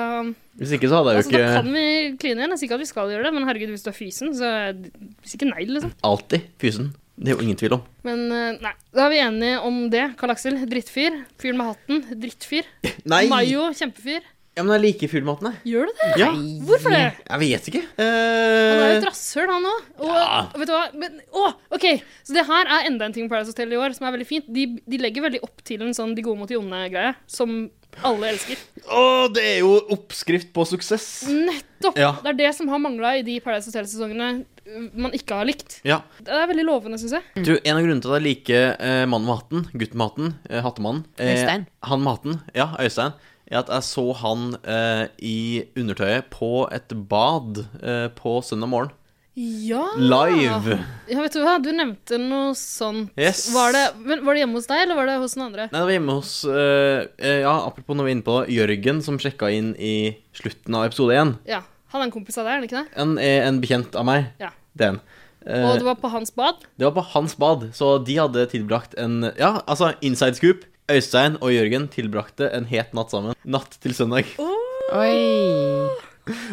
Speaker 1: Hvis ikke så hadde jeg jo
Speaker 2: altså, da kan
Speaker 1: ikke
Speaker 2: vi kline igjen. Jeg sier ikke at vi skal gjøre det, men herregud, hvis du er fysen, så er- hvis ikke nei, liksom.
Speaker 1: alltid fysen. Det er jo ingen tvil om.
Speaker 2: Men eh, nei, da er vi enige om det. Karl Aksel, drittfyr. Fyren med hatten, drittfyr.
Speaker 1: Nei!
Speaker 2: Mayo, kjempefyr.
Speaker 1: Ja, men jeg liker fuglematen, jeg.
Speaker 2: Gjør du det?
Speaker 1: Ja.
Speaker 2: Hvorfor det?
Speaker 1: Jeg vet ikke.
Speaker 2: Han er jo
Speaker 1: Eh,
Speaker 2: et rasshøl, han òg. Og
Speaker 1: Ja.
Speaker 2: og vet du hva? Men, å, ok, Så det her er enda en ting på Paradise Hotel i år som er veldig fint. De, de legger veldig opp til en sånn de gode mot de onde-greie, som alle elsker.
Speaker 1: å, det er jo oppskrift på suksess.
Speaker 2: Nettopp!
Speaker 1: Ja.
Speaker 2: Det er det som har mangla i de Paradise Hotel-sesongene øh, man ikke har likt.
Speaker 1: Ja.
Speaker 2: Det er veldig lovende, syns jeg.
Speaker 1: Jeg tror en av grunnene til at jeg liker eh, mannen med hatten, gutten med hatten, eh, hattemannen eh,
Speaker 4: Øystein.
Speaker 1: Han med hatten, ja, Øystein, er at jeg så han eh, i undertøyet på et bad eh, på søndag morgen.
Speaker 2: Ja.
Speaker 1: Live.
Speaker 2: ja, vet du hva? Du nevnte noe sånt.
Speaker 1: Yes.
Speaker 2: Var, det, men, var det hjemme hos deg, eller var det hos noen andre?
Speaker 1: Nei, det var hjemme hos eh, eh, Ja, apropos når vi er inne på det, Jørgen, som sjekka inn i slutten av episode én.
Speaker 2: Ja. Han er en kompis av deg, er han ikke det?
Speaker 1: Han er en bekjent av meg.
Speaker 2: Ja.
Speaker 1: Det er han. Eh,
Speaker 2: Og det var på hans bad?
Speaker 1: Det var på hans bad, så de hadde tilbrakt en Ja, altså, inside scoop. Øystein og Jørgen tilbrakte en het natt sammen. Natt til søndag.
Speaker 4: Oi.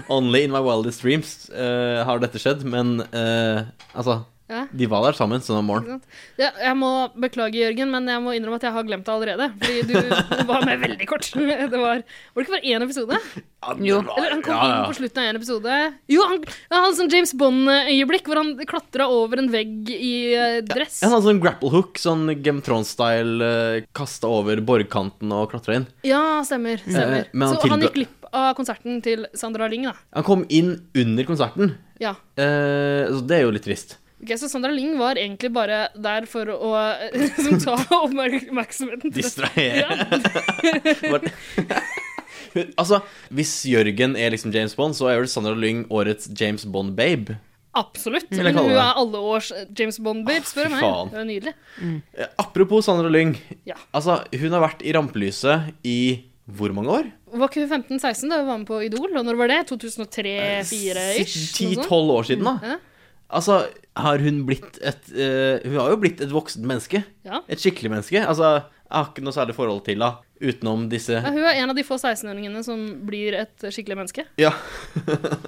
Speaker 1: Only in my wildest dreams eh, har dette skjedd, men eh, altså
Speaker 2: Ja.
Speaker 1: De var der sammen søndag morgen.
Speaker 2: Ikke sant? Ja, jeg må beklage, Jørgen, men jeg må innrømme at jeg har glemt det allerede. Fordi du var med veldig kort. Det var, var det ikke bare én episode?
Speaker 4: Jo.
Speaker 2: Eller han kom
Speaker 1: Ja, ja.
Speaker 2: inn på slutten av én episode. Jo, han, ja, han sånn James Bond-øyeblikk hvor han klatra over en vegg i eh, dress.
Speaker 1: En sånn grapple hook, sånn Game of Thrones-style, uh, kasta over borgkanten og klatra inn.
Speaker 2: Ja, stemmer. stemmer.
Speaker 1: Eh, men han
Speaker 2: Så han
Speaker 1: tilbød-
Speaker 2: gikk glipp av konserten til Sandra Lyng, da.
Speaker 1: Han kom inn under konserten,
Speaker 2: Ja.
Speaker 1: eh, så det er jo litt trist.
Speaker 2: Ok, så Sandra Lyng var egentlig bare der for å eh, som ta oppmerksomheten til dette.
Speaker 1: Distrahere.
Speaker 2: Ja,
Speaker 1: Bare- altså, hvis Jørgen er liksom James Bond, så er vel Sandra Lyng årets James Bond-babe.
Speaker 2: absolutt.
Speaker 1: jeg
Speaker 2: Men
Speaker 1: kalle
Speaker 2: hun
Speaker 1: det.
Speaker 2: er alle års James Bond-babe, spør
Speaker 1: fy
Speaker 2: du meg.
Speaker 1: faen.
Speaker 2: Det var nydelig.
Speaker 1: Eh, Apropos Sandra Lyng.
Speaker 2: Ja.
Speaker 1: Altså, hun har vært i rampelyset i hvor mange år?
Speaker 2: Var ikke hun 15-16 da hun var med på Idol? Og når var det? 2003-2004-ish?
Speaker 1: Ti-tolv år siden, da.
Speaker 2: Mm, Ja.
Speaker 1: Altså, har hun blitt et eh, Hun har jo blitt et voksent menneske.
Speaker 2: Ja.
Speaker 1: Et skikkelig menneske. Altså, Jeg har ikke noe særlig forhold til henne utenom disse
Speaker 2: Ja, hun er en av de få 16-åringene som blir et skikkelig menneske.
Speaker 1: Ja.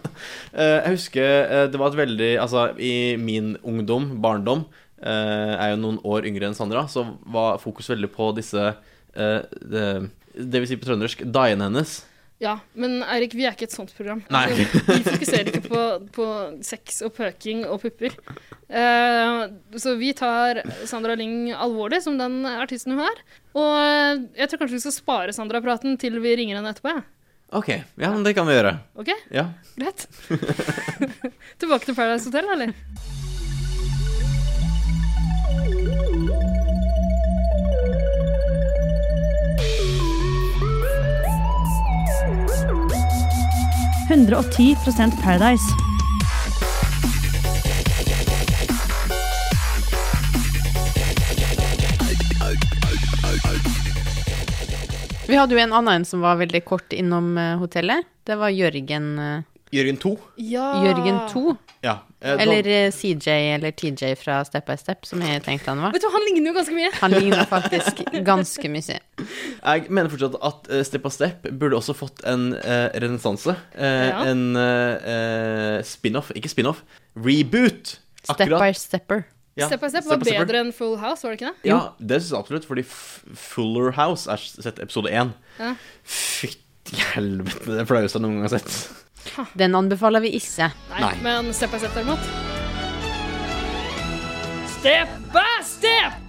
Speaker 1: Eh, jeg husker eh, det var et veldig Altså, i min ungdom, barndom, eh, jeg er jo noen år yngre enn Sandra, så var fokus veldig på disse eh, det, det vil si på trøndersk dagen hennes.
Speaker 2: Ja, men Eirik, vi er ikke et sånt program.
Speaker 1: Nei.
Speaker 2: Altså, vi fokuserer ikke på, på sex og pøking og pupper. Eh, så vi tar Sandra Lyng alvorlig, som den artisten hun er. Og eh, jeg tror kanskje vi skal spare Sandra-praten til vi ringer henne etterpå. Ja.
Speaker 1: OK. Ja, men det kan vi gjøre.
Speaker 2: OK,
Speaker 1: Ja.
Speaker 2: greit. Tilbake til Paradise Hotel, eller?
Speaker 4: Vi hadde jo en annen en som var veldig kort innom eh, hotellet. Det var Jørgen, eh,
Speaker 1: Jørgen 2.
Speaker 2: Ja.
Speaker 4: Jørgen 2.
Speaker 1: Ja. eh, da-
Speaker 4: Eller eh, CJ eller TJ fra Step by Step, som jeg tenkte han var.
Speaker 2: Vet du, han ligner jo ganske mye.
Speaker 4: Han ligner faktisk ganske mye.
Speaker 1: Jeg mener fortsatt at eh, Step by Step burde også fått en uh, renessanse. Eh,
Speaker 2: Ja.
Speaker 1: En eh, eh, spin-off Ikke spin-off, reboot!
Speaker 4: Step by Stepper.
Speaker 1: Ja,
Speaker 2: Step by Step
Speaker 1: by
Speaker 2: var
Speaker 1: Stepper.
Speaker 2: bedre enn Full House, var det ikke det?
Speaker 1: Ja, det syns jeg absolutt, fordi F- Fuller House er sett episode én.
Speaker 2: Ja.
Speaker 1: Fytti helvete, det er flaueste jeg noen gang har sett.
Speaker 4: Den anbefaler vi ikke.
Speaker 2: Nei,
Speaker 1: Nei.
Speaker 2: men Step by Step derimot. Step by step!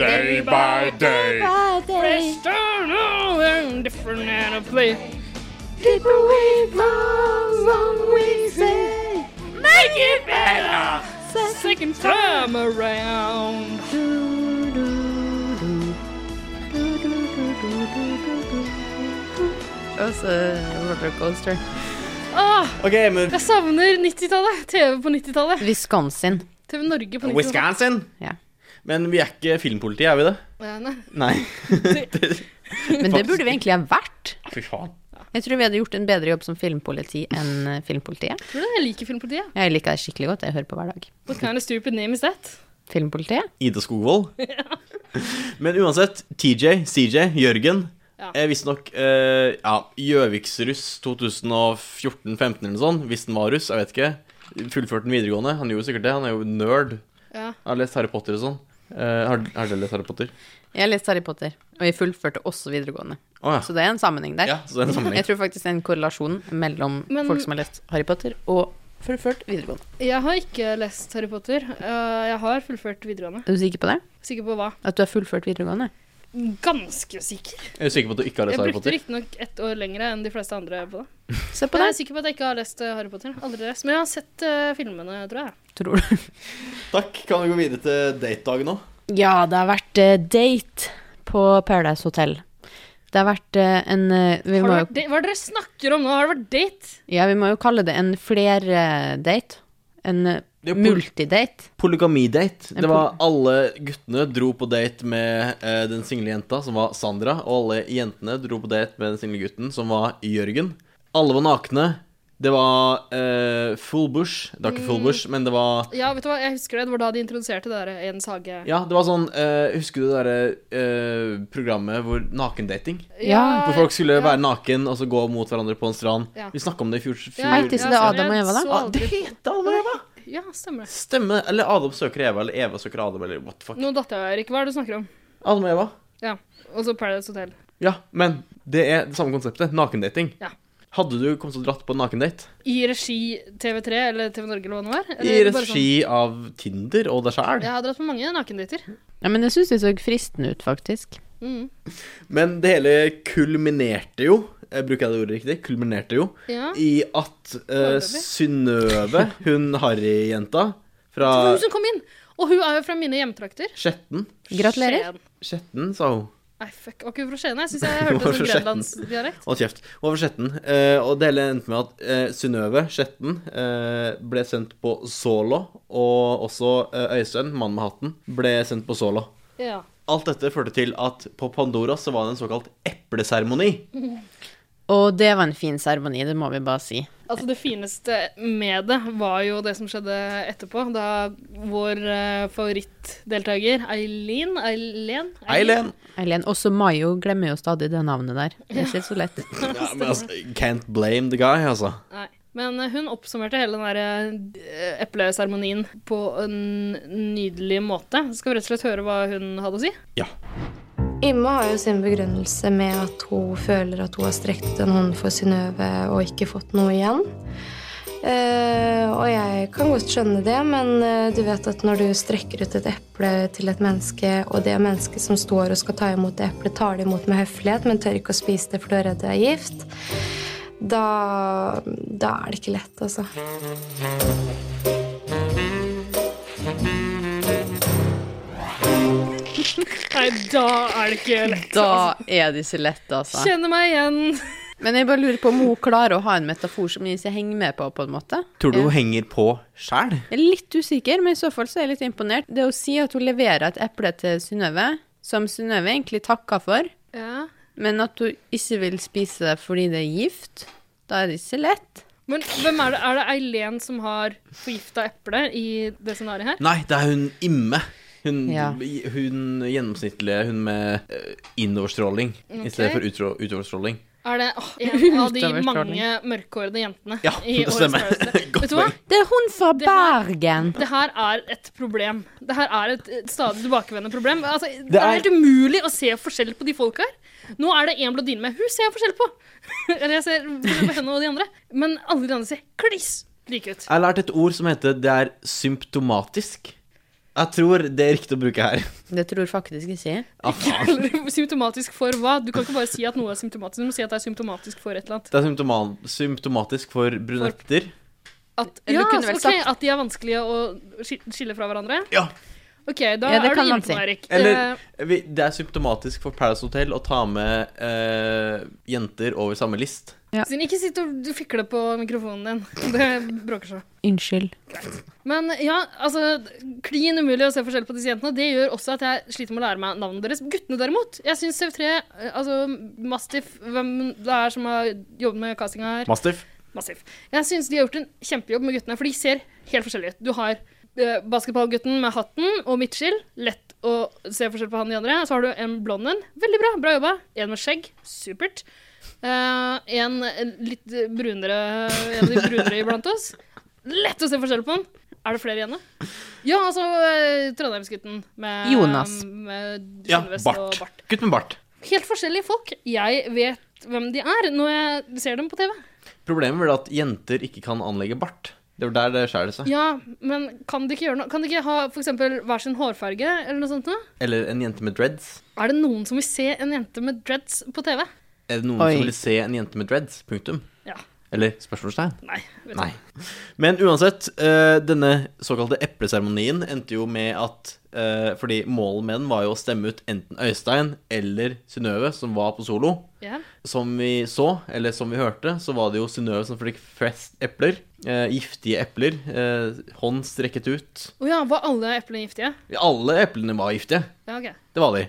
Speaker 2: Day by day. Fresh turn, oh, and different and a play. People we love, what we say. Make it better. Second time around.
Speaker 4: Altså, rollercoaster.
Speaker 2: Åh,
Speaker 1: OK, men
Speaker 2: Ah, jeg savner 90-tallet. TV på 90-tallet.
Speaker 4: Wisconsin.
Speaker 2: TV Norge på 90-tallet.
Speaker 1: Wisconsin!
Speaker 4: Ja.
Speaker 1: Men vi er ikke filmpolitiet, er vi det?
Speaker 2: Ja, nei.
Speaker 1: Nei.
Speaker 4: Men det burde vi egentlig ha vært.
Speaker 1: Fy faen.
Speaker 4: Jeg tror vi hadde gjort en bedre jobb som filmpoliti enn eh, filmpolitiet.
Speaker 2: Tror du jeg liker filmpolitiet?
Speaker 4: Jeg liker det skikkelig godt. Jeg hører på hver dag.
Speaker 2: What kind of stupid name is that?
Speaker 4: Filmpolitiet?
Speaker 1: Ida Skogvold. Men uansett, TJ, CJ, Jørgen
Speaker 2: Ja.
Speaker 1: eh, Visstnok eh, ja, Gjøviksruss 2014-15 eller noe sånt, hvis den var russ, jeg vet ikke. Fullførte den videregående. Han gjorde sikkert det, han er jo nerd.
Speaker 2: Ja.
Speaker 1: Jeg har lest Harry Potter og sånn. Eh, har, har dere lest Harry Potter?
Speaker 4: Jeg har lest Harry Potter, og jeg fullførte også videregående.
Speaker 1: Å ja.
Speaker 4: Så det er en sammenheng der.
Speaker 1: ja. Så det er en sammenheng.
Speaker 4: Jeg tror faktisk det er en korrelasjon mellom
Speaker 2: Men-
Speaker 4: folk som har lest Harry Potter, og fullført videregående.
Speaker 2: Jeg har ikke lest Harry Potter. Eh, jeg har fullført videregående.
Speaker 4: Er du sikker på det?
Speaker 2: Sikker på hva?
Speaker 4: At du har fullført videregående?
Speaker 2: Ganske sikker.
Speaker 1: Jeg er sikker på at du ikke har
Speaker 2: Jeg
Speaker 1: lest Harry
Speaker 2: brukte
Speaker 1: Potter.
Speaker 2: riktignok ett år lengre enn de fleste andre på det.
Speaker 4: Se på
Speaker 2: Men jeg
Speaker 4: det.
Speaker 2: er sikker på at jeg ikke har lest eh, Harry Potter. Aldri lest. Men jeg har sett eh, filmene, tror jeg.
Speaker 4: Tror du?
Speaker 1: Takk. Kan vi gå videre til datedagen nå?
Speaker 4: Ja, det har vært eh, date på Paradise Hotel. Det har vært eh, en eh, vi
Speaker 2: Har
Speaker 4: må,
Speaker 2: det
Speaker 4: jo,
Speaker 2: vært date? Hva er det dere snakker om nå? Har det vært date?
Speaker 4: ja, vi må jo kalle det en flerdate. En eh,
Speaker 1: Det er pol-
Speaker 4: multidate.
Speaker 1: Polygamidate.
Speaker 4: En
Speaker 1: Det var alle guttene dro på date med eh, den single jenta, som var Sandra. Og alle jentene dro på date med den single gutten, som var Jørgen. Alle var nakne. Det var eh, full bush. Det var ikke full bush, men det var
Speaker 2: Ja, vet du hva, jeg husker det. Det var da de introduserte det der Ens hage.
Speaker 1: Ja, det var sånn eh, Husker du det derre eh, programmet hvor nakendating?
Speaker 4: Ja.
Speaker 1: Hvor folk skulle
Speaker 2: ja.
Speaker 1: være naken og så gå mot hverandre på en strand.
Speaker 2: Ja.
Speaker 1: Vi snakka om det i fjor. fjor.
Speaker 2: Ja,
Speaker 4: Hei, til så det er
Speaker 2: sorry,
Speaker 4: Adam og
Speaker 2: jeg
Speaker 4: Eva, da?
Speaker 2: så
Speaker 1: Ah, det
Speaker 2: aldri-
Speaker 1: heter Adam og Eva!
Speaker 2: Ja, stemmer det.
Speaker 1: Stemme. Eller Adam søker Eva, eller Eva søker Adam, eller what the fuck.
Speaker 2: Nå datt jeg, Erik. Hva er det du snakker om?
Speaker 1: Adam og Eva.
Speaker 2: Ja. Og så Paradise Hotel.
Speaker 1: Ja, men det er det samme konseptet. Nakendating.
Speaker 2: Ja.
Speaker 1: Hadde du kommet til å dratt på en nakendate?
Speaker 2: I regi TV3 eller TV Norge eller hva det nå var?
Speaker 1: I
Speaker 2: Eller bare sånn-
Speaker 1: regi av Tinder og deg sjæl.
Speaker 2: Jeg har dratt på mange nakendater.
Speaker 4: Ja, men jeg syns det så fristende ut, faktisk.
Speaker 2: Mm.
Speaker 1: Men det hele kulminerte jo, eh, bruker jeg det ordet riktig, kulminerte jo
Speaker 2: Ja.
Speaker 1: i at eh,
Speaker 2: Foreløpig.
Speaker 1: Synnøve, hun harryjenta fra
Speaker 2: Så hun som kom inn! Og hun er jo fra mine hjemtrakter.
Speaker 1: Skjetten
Speaker 4: Gratulerer.
Speaker 2: Skien.
Speaker 1: Skjetten, sa hun.
Speaker 2: Nei, fuck. Var ikke hun fra Skien? Jeg syns jeg
Speaker 1: Hun var
Speaker 2: hørte
Speaker 1: fra
Speaker 2: sånn
Speaker 1: Skien.
Speaker 2: grenlandsdialekt.
Speaker 1: Hold kjeft. Hun var fra Skjetten. eh, og det hele endte med at eh, Synnøve, Skjetten, eh, ble sendt på Solo. Og også eh, Øystein, mannen med hatten, ble sendt på Solo.
Speaker 2: Ja.
Speaker 1: Alt dette førte til at på Pandora så var det en såkalt epleseremoni.
Speaker 4: Og det var en fin seremoni, det må vi bare si.
Speaker 2: Altså Det fineste med det var jo det som skjedde etterpå, da vår eh, favorittdeltaker Eileen Eileen?
Speaker 1: Eileen!
Speaker 4: Eileen, også Mayo glemmer jo stadig det navnet der. Det er ikke så lett.
Speaker 1: Ja, men altså, can't blame the guy, altså.
Speaker 2: Nei. Men eh, hun oppsummerte hele den der eh, epleseremonien på en nydelig måte. Så skal vi rett og slett høre hva hun hadde å si.
Speaker 1: Ja.
Speaker 8: Imme har jo sin begrunnelse med at hun føler at hun har strekt en hånd for Synnøve og ikke fått noe igjen. Eh, og jeg kan godt skjønne det, men eh, du vet at når du strekker ut et eple til et menneske, og det mennesket som står og skal ta imot det eplet, tar det imot med høflighet, men tør ikke å spise det for du er redd du er gift, da, da er det ikke lett, altså.
Speaker 2: Nei, da er det ikke lett.
Speaker 4: Da er det ikke lett, altså.
Speaker 2: Kjenner meg igjen.
Speaker 4: Men jeg bare lurer på om hun klarer å ha en metafor som jeg ikke henger med på, på en måte.
Speaker 1: Tror du hun henger på sjæl?
Speaker 4: Jeg er litt usikker, men i så fall så er jeg litt imponert. Det å si at hun leverer et eple til Synnøve, som Synnøve egentlig takker for,
Speaker 2: Ja.
Speaker 4: men at hun ikke vil spise det fordi det er gift, da er det ikke lett.
Speaker 2: Men hvem er det? Er det Eileen som har forgifta eplet i det scenarioet her?
Speaker 1: Nei, det er hun Imme. Hun,
Speaker 4: Ja.
Speaker 1: hun gjennomsnittlige, hun med eh, innoverstråling i stedet for utro, utoverstråling.
Speaker 2: Er det åh, en av de
Speaker 4: Utover stråling.
Speaker 2: mange mørkhårede jentene
Speaker 1: Ja,
Speaker 2: i
Speaker 1: det
Speaker 2: årets
Speaker 1: stemmer.
Speaker 2: Paradise?
Speaker 1: Godt
Speaker 2: Vet du hva?
Speaker 1: poeng.
Speaker 4: Det er hun fra
Speaker 2: Det her-
Speaker 4: Bergen!
Speaker 2: Det her er et problem. Det her er et et stadig tilbakevendende problem. Altså, det, er...
Speaker 1: er-
Speaker 2: helt umulig å se forskjell på de folka her. Nå er det en blondine med. Hun ser jeg forskjell på! Eller jeg ser forskjell på henne og de andre. Men alle de andre ser kliss like ut.
Speaker 1: Jeg har lært et ord som heter 'det er symptomatisk'. Jeg tror det er riktig å bruke her.
Speaker 4: Det tror faktisk ikke jeg.
Speaker 1: Ah, faen.
Speaker 2: Eller symptomatisk for hva? Du kan ikke bare si at noe er symptomatisk. Du må si at det er symptomatisk for et eller annet.
Speaker 1: Det er symptoma- symptomatisk for brunetter.
Speaker 2: At,
Speaker 4: Eller
Speaker 2: ja,
Speaker 4: du kunne vel
Speaker 2: ok,
Speaker 4: sagt-
Speaker 2: at de er vanskelige å ski- skille fra hverandre?
Speaker 1: Ja.
Speaker 2: OK, da
Speaker 4: Ja, det
Speaker 2: er du
Speaker 4: kan
Speaker 2: inne
Speaker 4: man
Speaker 2: på
Speaker 4: si.
Speaker 2: noe, Erik.
Speaker 1: Eller-
Speaker 2: Eh,
Speaker 1: Vi- Det er symptomatisk for Paradise Hotel å ta med eh, jenter over samme list.
Speaker 2: Stine, ikke sitt og fikle på mikrofonen din. Det bråker så.
Speaker 4: Unnskyld.
Speaker 2: Men ja, altså klin umulig å se forskjell på disse jentene. Det gjør også at jeg sliter med å lære meg navnet deres. Guttene derimot. Jeg syns CV3, eh, altså Mastiff, hvem det er som har jobbet med castinga her
Speaker 1: Mastiff.
Speaker 2: Mastiff. Jeg syns de har gjort en kjempejobb med guttene, for de ser helt forskjellige ut. Du har eh, basketballgutten med hatten og midtskill. Lett å se forskjell på han og de andre. Så har du en blond en. Veldig bra. Bra jobba. En med skjegg. Supert. Eh, en litt brunere En av de brunere iblant oss. Lett å se forskjell på han. Er det flere igjen, da? Ja, altså eh, Trondheimsgutten med
Speaker 4: Jonas.
Speaker 2: Med
Speaker 1: Ja,
Speaker 2: skinnvest og
Speaker 1: bart.
Speaker 2: bart.
Speaker 1: Gutt med bart.
Speaker 2: Helt forskjellige folk. Jeg vet hvem de er når jeg ser dem på TV.
Speaker 1: Problemet er at jenter ikke kan anlegge bart. Det var der det skjærer seg.
Speaker 2: Ja, men kan de ikke gjøre noe? Kan de ikke ha for eksempel hver sin hårfarge eller noe sånt? noe?
Speaker 1: Eller en jente med dreads.
Speaker 2: Er det noen som vil se en jente med dreads på TV?
Speaker 1: Er det noen
Speaker 4: Oi.
Speaker 1: som vil se en jente med dreads? Punktum.
Speaker 2: Ja.
Speaker 1: Eller spørsmålstegn?
Speaker 2: Nei. vet du.
Speaker 1: Nei. Men uansett, eh, denne såkalte epleseremonien endte jo med at eh, Fordi målet med den var jo å stemme ut enten Øystein eller Synnøve, som var på solo.
Speaker 2: Ja.
Speaker 1: Som vi så, eller som vi hørte, så var det jo Synnøve som fikk flest epler. Eh, giftige epler. Eh, hånd strekket ut.
Speaker 2: Å ja, var alle eplene giftige?
Speaker 1: Alle eplene var giftige.
Speaker 2: Ja, ok.
Speaker 1: Det var de.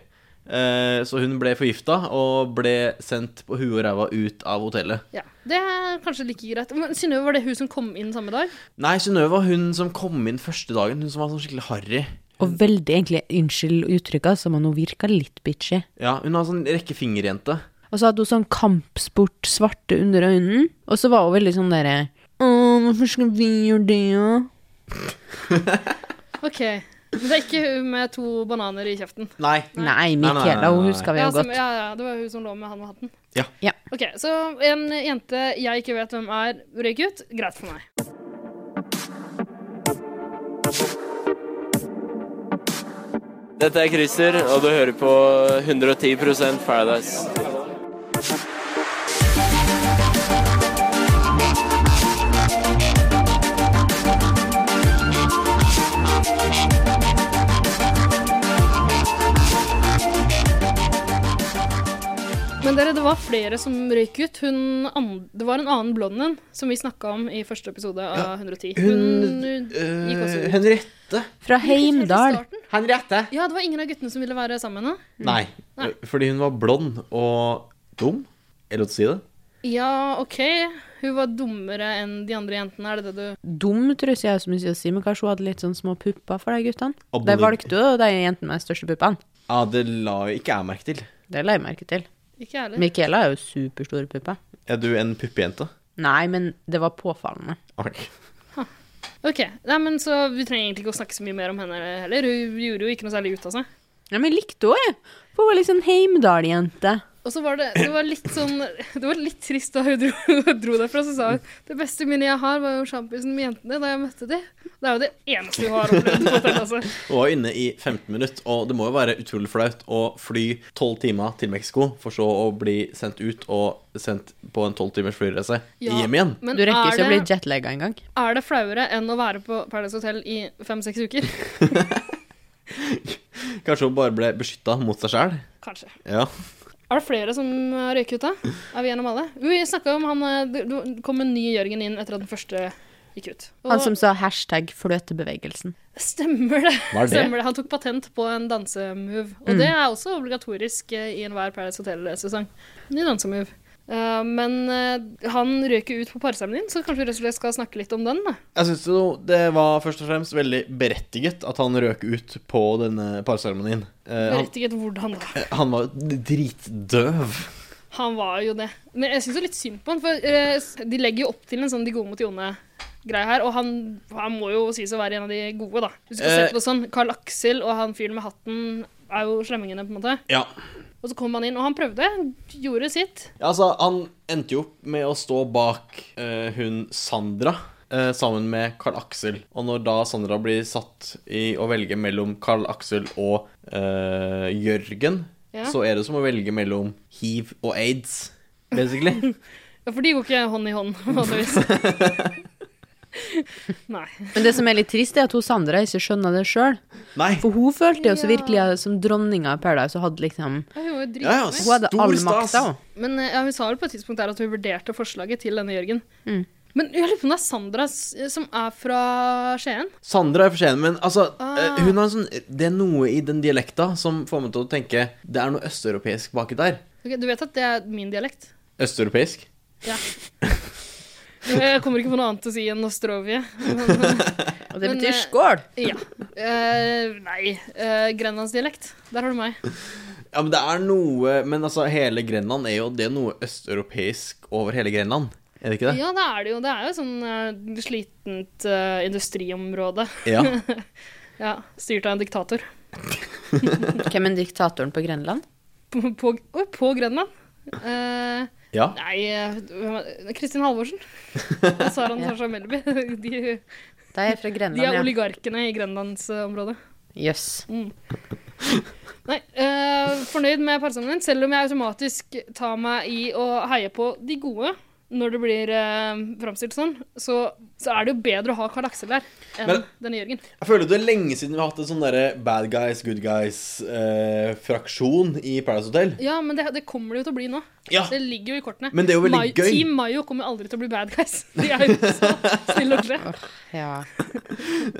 Speaker 1: Eh, så hun ble forgifta og ble sendt på huet og ræva ut av hotellet.
Speaker 2: Ja, Det er kanskje like greit. Men Synnøve, var det hun som kom inn samme dag?
Speaker 1: Nei, Synnøve var hun som kom inn første dagen. Hun som var sånn skikkelig harry.
Speaker 4: Og veldig egentlig unnskyld uttrykket, som om hun virka litt bitchy.
Speaker 1: Ja, hun har sånn rekkefingerjente.
Speaker 4: Og så hadde hun sånn kampsport svarte under øynene, og så var hun veldig sånn derre Åh, hvorfor skal vi gjøre det, da?
Speaker 2: OK. Men det er ikke hun med to bananer i kjeften.
Speaker 1: Nei.
Speaker 4: Nei, altså,
Speaker 1: nei, nei,
Speaker 4: Michaela, hun
Speaker 1: nei.
Speaker 4: husker vi
Speaker 2: Ja,
Speaker 4: jo
Speaker 2: som,
Speaker 4: godt.
Speaker 2: ja, ja, det var hun som lå med han med hatten.
Speaker 1: Ja.
Speaker 4: Ja.
Speaker 2: OK, så en jente jeg ikke vet hvem er, røyk ut. Greit for meg.
Speaker 9: Dette er Christer, og du hører på 110 Paradise.
Speaker 2: Men dere, det var flere som røyk ut. Hun an- det var en annen blond en som vi snakka om i første episode av 110.
Speaker 1: Hun
Speaker 2: gikk også
Speaker 1: øh,
Speaker 2: ut.
Speaker 1: Henriette.
Speaker 4: Fra
Speaker 2: Helt i
Speaker 4: Heimdal.
Speaker 2: starten.
Speaker 1: Henriette?
Speaker 2: Ja, det var ingen av guttene som ville Mm. være sammen med henne.
Speaker 1: Nei. Fordi hun var blond og dum. Er det lov til å si det?
Speaker 2: Ja, OK. Hun var dummere enn de andre jentene, er det det du
Speaker 4: Dum trus jeg så mye å si, men kanskje hun hadde litt sånn små pupper for de guttene?
Speaker 1: Og
Speaker 4: De
Speaker 1: både-
Speaker 4: valgte jo de jentene med de største puppene.
Speaker 1: Ja, det la jo ikke jeg merke til.
Speaker 4: Det la jeg merke til.
Speaker 2: Ikke jeg heller.
Speaker 4: Michaela er jo superstore pupper.
Speaker 1: Er du en puppejente?
Speaker 4: Nei, men det var påfallende.
Speaker 1: Ok.
Speaker 2: OK. Nei, men så vi trenger egentlig ikke å snakke så mye mer om henne heller. Hun gjorde jo ikke noe særlig ut av seg.
Speaker 4: Ja, men jeg likte henne, jeg. For hun var litt sånn Heimdal-jente.
Speaker 2: Og så var det, det var litt sånn Det var litt trist da hun dro, dro derfra. Så sa hun det beste minnet jeg har, var jo sjampisen med jentene da jeg møtte de. Det er jo det eneste hun har opplevd. på hotell, Altså.
Speaker 1: Hun var inne i 15 minutter, og det må jo være utrolig flaut å fly 12 timer til Mexico, for så å bli sendt ut og sendt på en 12 timers flyreise
Speaker 2: Ja,
Speaker 1: hjem igjen.
Speaker 2: Men
Speaker 4: Du rekker
Speaker 2: er
Speaker 4: ikke å bli
Speaker 2: det-
Speaker 4: jetlagga engang.
Speaker 2: Er det flauere enn å være på Paradise Hotel i fem-seks uker?
Speaker 1: Kanskje hun bare ble beskytta mot seg sjæl?
Speaker 2: Kanskje.
Speaker 1: Ja.
Speaker 2: Er det flere som har røyket ut, da? Er vi gjennom alle? Vi snakka om han eh, Det det kom en ny Jørgen inn etter at den første gikk ut. Og
Speaker 4: Han som sa hashtag fløtebevegelsen.
Speaker 2: Stemmer det.
Speaker 1: Hva er det? Mm.
Speaker 2: Stemmer det. Han tok patent på en dansemove. Og det er også obligatorisk eh, i enhver Paradise Hotel-sesong. Ny dansemove. Eh, men eh, han røyk jo ut på parseremonien, så kanskje vi rett og slett skal snakke litt om den. da.
Speaker 1: Jeg syns jo det var først og fremst veldig berettiget at han røk ut på denne parseremonien. Eh, han,
Speaker 2: Berettiget hvordan da.
Speaker 1: han var dritdøv.
Speaker 2: Han var jo det. Men jeg syns jo litt synd på han, for eh, s- de legger jo opp til en sånn de gode mot de onde-greie her, og han, han må jo sies å være en av de gode, da. Hvis du skal
Speaker 1: Eh.
Speaker 2: se på det sånn, Carl Aksel og han fyren med hatten er jo slemmingene, på en måte.
Speaker 1: Ja.
Speaker 2: Og så kom han inn, og han prøvde, gjorde sitt.
Speaker 1: Ja, altså, han endte jo opp med å stå bak eh, hun Sandra eh, sammen med Carl Aksel. Og når da Sandra blir satt i å velge mellom Carl Aksel og eh, Jørgen,
Speaker 2: Ja.
Speaker 1: så er det som å velge mellom hiv og aids, basically.
Speaker 2: Ja, for de går ikke hånd i hånd, vanligvis. Nei.
Speaker 4: Men det som er litt trist, er at hun Sandra ikke skjønner det sjøl.
Speaker 1: Nei.
Speaker 4: For hun følte jo så
Speaker 2: Ja.
Speaker 4: virkelig som dronninga i Paradise og hadde liksom
Speaker 2: Ja, Hun
Speaker 1: Ja,
Speaker 2: var jo
Speaker 1: ja,
Speaker 2: dritmørk.
Speaker 4: Hun hadde all
Speaker 1: stor stas.
Speaker 4: makta. hun.
Speaker 2: Men eh, ja, hun sa vel på et tidspunkt der at hun vurderte forslaget til denne Jørgen. Men jeg lurer på om det er Sandra s- som er fra Skien?
Speaker 1: Sandra er for sen, men altså
Speaker 2: Ah.
Speaker 1: eh, hun har en sånn, Det er noe i den dialekta som får meg til å tenke Det er noe østeuropeisk baki der.
Speaker 2: Ok, du vet at det er min dialekt?
Speaker 1: Østeuropeisk?
Speaker 2: Ja. Jeg kommer ikke på noe annet å si enn Nostrovje. Men,
Speaker 4: Og det
Speaker 2: Men,
Speaker 4: betyr
Speaker 2: eh,
Speaker 4: skål!
Speaker 2: ja. Eh, nei. eh, Grenlandsdialekt. Der har du meg.
Speaker 1: Ja, men det er noe Men altså, hele Grenland er jo Det er noe østeuropeisk over hele Grenland. Er det ikke det?
Speaker 2: Ja, det er det jo. Det er jo sånn eh, slitent eh, industriområde.
Speaker 1: Ja.
Speaker 2: Ja, Styrt av en diktator.
Speaker 4: Hvem er diktatoren på Grenland?
Speaker 2: På, på, oi, på Grønland. Eh,
Speaker 1: Ja.
Speaker 2: nei eh, hvem er- Kristin Halvorsen. Og Sara Natasha Melby. De,
Speaker 4: De er fra
Speaker 2: de er
Speaker 4: Grenland, ja.
Speaker 2: oligarkene i Grenlandsområdet.
Speaker 4: Jøss.
Speaker 2: Nei, eh, fornøyd med parsammen din, selv om jeg automatisk tar meg i å heie på de gode når det blir uh, framstilt sånn, så, så er det jo bedre å ha Karl Aksel der enn
Speaker 1: Men-
Speaker 2: denne Jørgen.
Speaker 1: Jeg føler det er lenge siden vi har hatt en sånn derre bad guys, good guys-fraksjon i Paradise Hotel.
Speaker 2: Ja, men det, det kommer det jo til å bli nå.
Speaker 1: Ja.
Speaker 2: Det ligger jo i kortene.
Speaker 1: Men det er jo veldig
Speaker 2: Mayo-
Speaker 1: gøy.
Speaker 2: Team Mayo kommer jo aldri til å bli bad guys. De er jo så snille og slemme.
Speaker 4: Ja.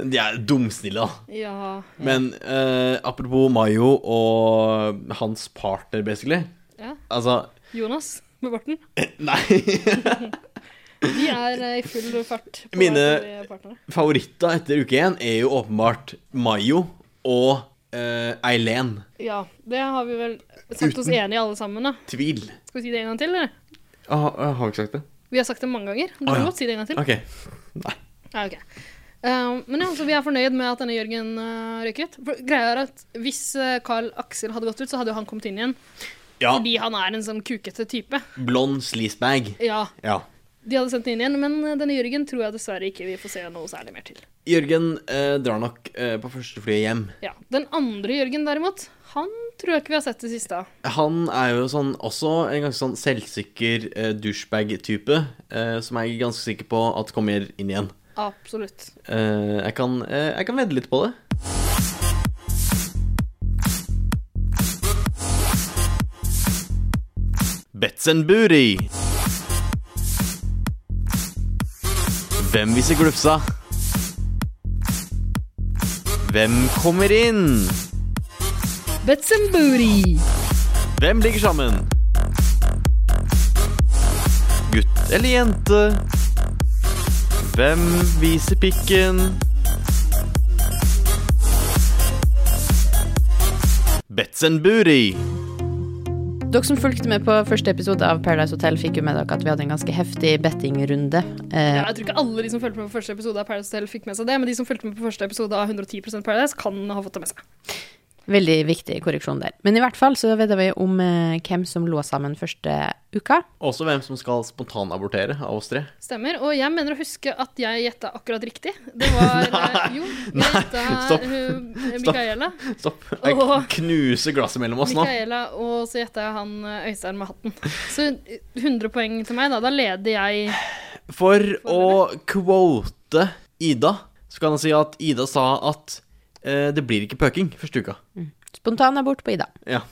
Speaker 1: De er dumsnille, da.
Speaker 2: Ja.
Speaker 1: Men eh, apropos Mayo og hans partner, basically.
Speaker 2: Ja.
Speaker 1: Altså
Speaker 2: Jonas med barten.
Speaker 1: Nei.
Speaker 2: De er eh, i full fart på
Speaker 1: Mine-
Speaker 2: hver til partnere.
Speaker 1: Favoritter etter uke én er jo åpenbart Mayo og eh, Eileen.
Speaker 2: Ja, det har vi vel sagt oss enige i alle sammen, da.
Speaker 1: Tvil.
Speaker 2: Skal vi si det en gang til, eller?
Speaker 1: Ah, ah, har vi ikke sagt det?
Speaker 2: Vi har sagt det mange ganger. Du
Speaker 1: Å,
Speaker 2: kan
Speaker 1: ja.
Speaker 2: godt si det en gang til.
Speaker 1: OK.
Speaker 2: Ja, ok. Eh, men ja, så vi er fornøyd med at denne Jørgen uh, røyk ut. For greia er at Hvis eh, Carl Aksel hadde gått ut, så hadde jo han kommet inn igjen.
Speaker 1: Ja.
Speaker 2: Fordi han er en sånn kukete type.
Speaker 1: Blond sleazebag.
Speaker 2: Ja,
Speaker 1: Ja.
Speaker 2: De hadde sendt den inn igjen, men eh, denne Jørgen tror jeg dessverre ikke vi får se noe særlig mer til.
Speaker 1: Jørgen eh, drar nok eh, på første flyet hjem.
Speaker 2: Ja, Den andre Jørgen, derimot, han tror jeg ikke vi har sett det siste av.
Speaker 1: Han er jo sånn, også en ganske sånn selvsikker eh, douchebag-type, eh, som jeg er ganske sikker på at kommer inn igjen.
Speaker 2: Absolutt.
Speaker 1: Eh, jeg kan, eh, jeg kan vedde litt på det. Betzenburi. Hvem viser glufsa? Hvem kommer inn?
Speaker 2: Betzemburi.
Speaker 1: Hvem ligger sammen? gutt eller jente? Hvem viser pikken? Bets and booty.
Speaker 4: Dere som fulgte med på første episode av Paradise Hotel, fikk jo med dere at vi hadde en ganske heftig bettingrunde. Eh,
Speaker 2: Ja, jeg tror ikke alle de som fulgte med på første episode av Paradise Hotel, fikk med seg det, men de som fulgte med på første episode av 110 Paradise, kan ha fått det med seg.
Speaker 4: Veldig viktig korreksjon der. Men i hvert fall så vet vi om eh, hvem som lå sammen første uka.
Speaker 1: Også hvem som skal spontanabortere av oss tre.
Speaker 2: Stemmer. Og jeg mener å huske at jeg gjetta akkurat riktig. Det var eh, Jo, jeg
Speaker 1: Nei,
Speaker 2: gjetta
Speaker 1: stopp.
Speaker 2: eh,
Speaker 1: Stopp.
Speaker 2: Micaela.
Speaker 1: Stopp. Jeg
Speaker 2: Åh.
Speaker 1: knuser glasset mellom oss nå.
Speaker 2: Micaela, og så gjetta jeg han eh, Øystein med hatten. Så 100 poeng til meg, da. Da leder jeg
Speaker 1: For å quote Ida, så kan jeg si at Ida sa at eh, det blir ikke pøking første uka.
Speaker 4: Spontanabort på Ida.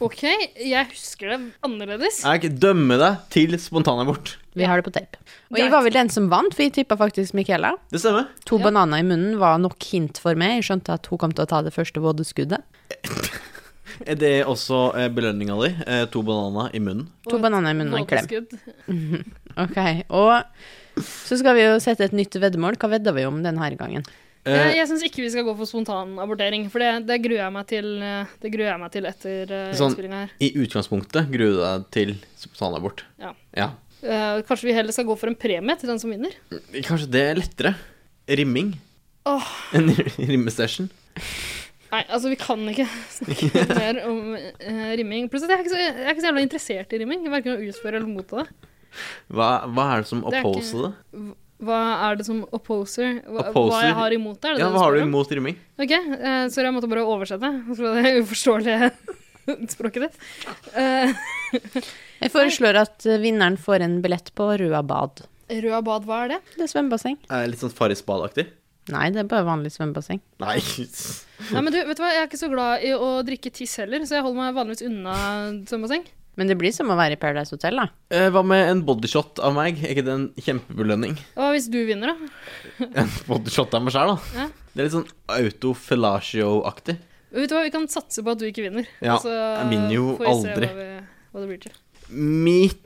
Speaker 2: OK, jeg husker det annerledes.
Speaker 1: Jeg kan ikke dømme deg til spontanabort.
Speaker 4: Vi har det på tape. Og jeg var vel den som vant, for jeg tippa faktisk Michaela.
Speaker 1: Det stemmer.
Speaker 4: To bananer i munnen var nok hint for meg. Jeg skjønte at hun kom til å ta det første vådeskuddet.
Speaker 1: Er det også eh, belønninga di? Eh, to bananer i munnen.
Speaker 4: To
Speaker 2: Og et
Speaker 4: bananer i munnen og en klem.
Speaker 2: vådeskudd.
Speaker 4: Ok, og så skal vi jo sette et nytt veddemål. Hva vedder vi om denne gangen?
Speaker 2: Jeg,
Speaker 1: Eh,
Speaker 2: jeg syns ikke vi skal gå for spontanabortering, for det, det gruer jeg meg til eh, Det gruer jeg meg til etter uh,
Speaker 1: Sånn.
Speaker 2: innspillinga her.
Speaker 1: I utgangspunktet gruer du deg til spontanabort.
Speaker 2: Ja.
Speaker 1: ja.
Speaker 2: Eh, kanskje vi heller skal gå for en premie til den som vinner?
Speaker 1: Kanskje det er lettere? Rimming?
Speaker 2: Åh.
Speaker 1: En rimmesession?
Speaker 2: Nei, altså, vi kan ikke snakke mer om eh, rimming. Plutselig, jeg er, ikke så, jeg er ikke så jævla interessert i rimming. Verken å utføre eller motta det.
Speaker 1: Hva, hva er det som
Speaker 2: er ikke-
Speaker 1: opposer det?
Speaker 2: Hva er det som opposer? Hva, hva
Speaker 1: Opposer?
Speaker 2: jeg har imot det? Er det
Speaker 1: Ja,
Speaker 2: det
Speaker 1: hva har
Speaker 2: spør
Speaker 1: du
Speaker 2: om?
Speaker 1: imot rimming?
Speaker 2: Ok, eh, sorry, jeg måtte bare oversette fra det uforståelige språket ditt. Eh,
Speaker 4: Jeg foreslår at eh, vinneren får en billett på Røa bad.
Speaker 2: Røa bad, hva er det?
Speaker 4: Det er svømmebasseng.
Speaker 1: Er jeg litt sånn Farris Bad-aktig?
Speaker 4: Nei, det er bare vanlig svømmebasseng.
Speaker 1: Nei.
Speaker 2: Nei, men du, vet du hva, Jeg er ikke så glad i å drikke tiss heller, så jeg holder meg vanligvis unna svømmebasseng.
Speaker 4: Men det blir som å være i Paradise Hotel, da.
Speaker 1: Eh, hva med en bodyshot av meg? Er ikke det en kjempebelønning?
Speaker 2: Hva hvis du vinner, da?
Speaker 1: Bodyshot av meg sjæl, da.
Speaker 2: Ja.
Speaker 1: Det er litt sånn autofellatio-aktig.
Speaker 2: Vet du hva, Vi kan satse på at du ikke vinner.
Speaker 1: Ja,
Speaker 2: og så
Speaker 1: jeg vinner jo
Speaker 2: får vi se
Speaker 1: aldri.
Speaker 2: Hva, vi, hva det blir til.
Speaker 1: Mitt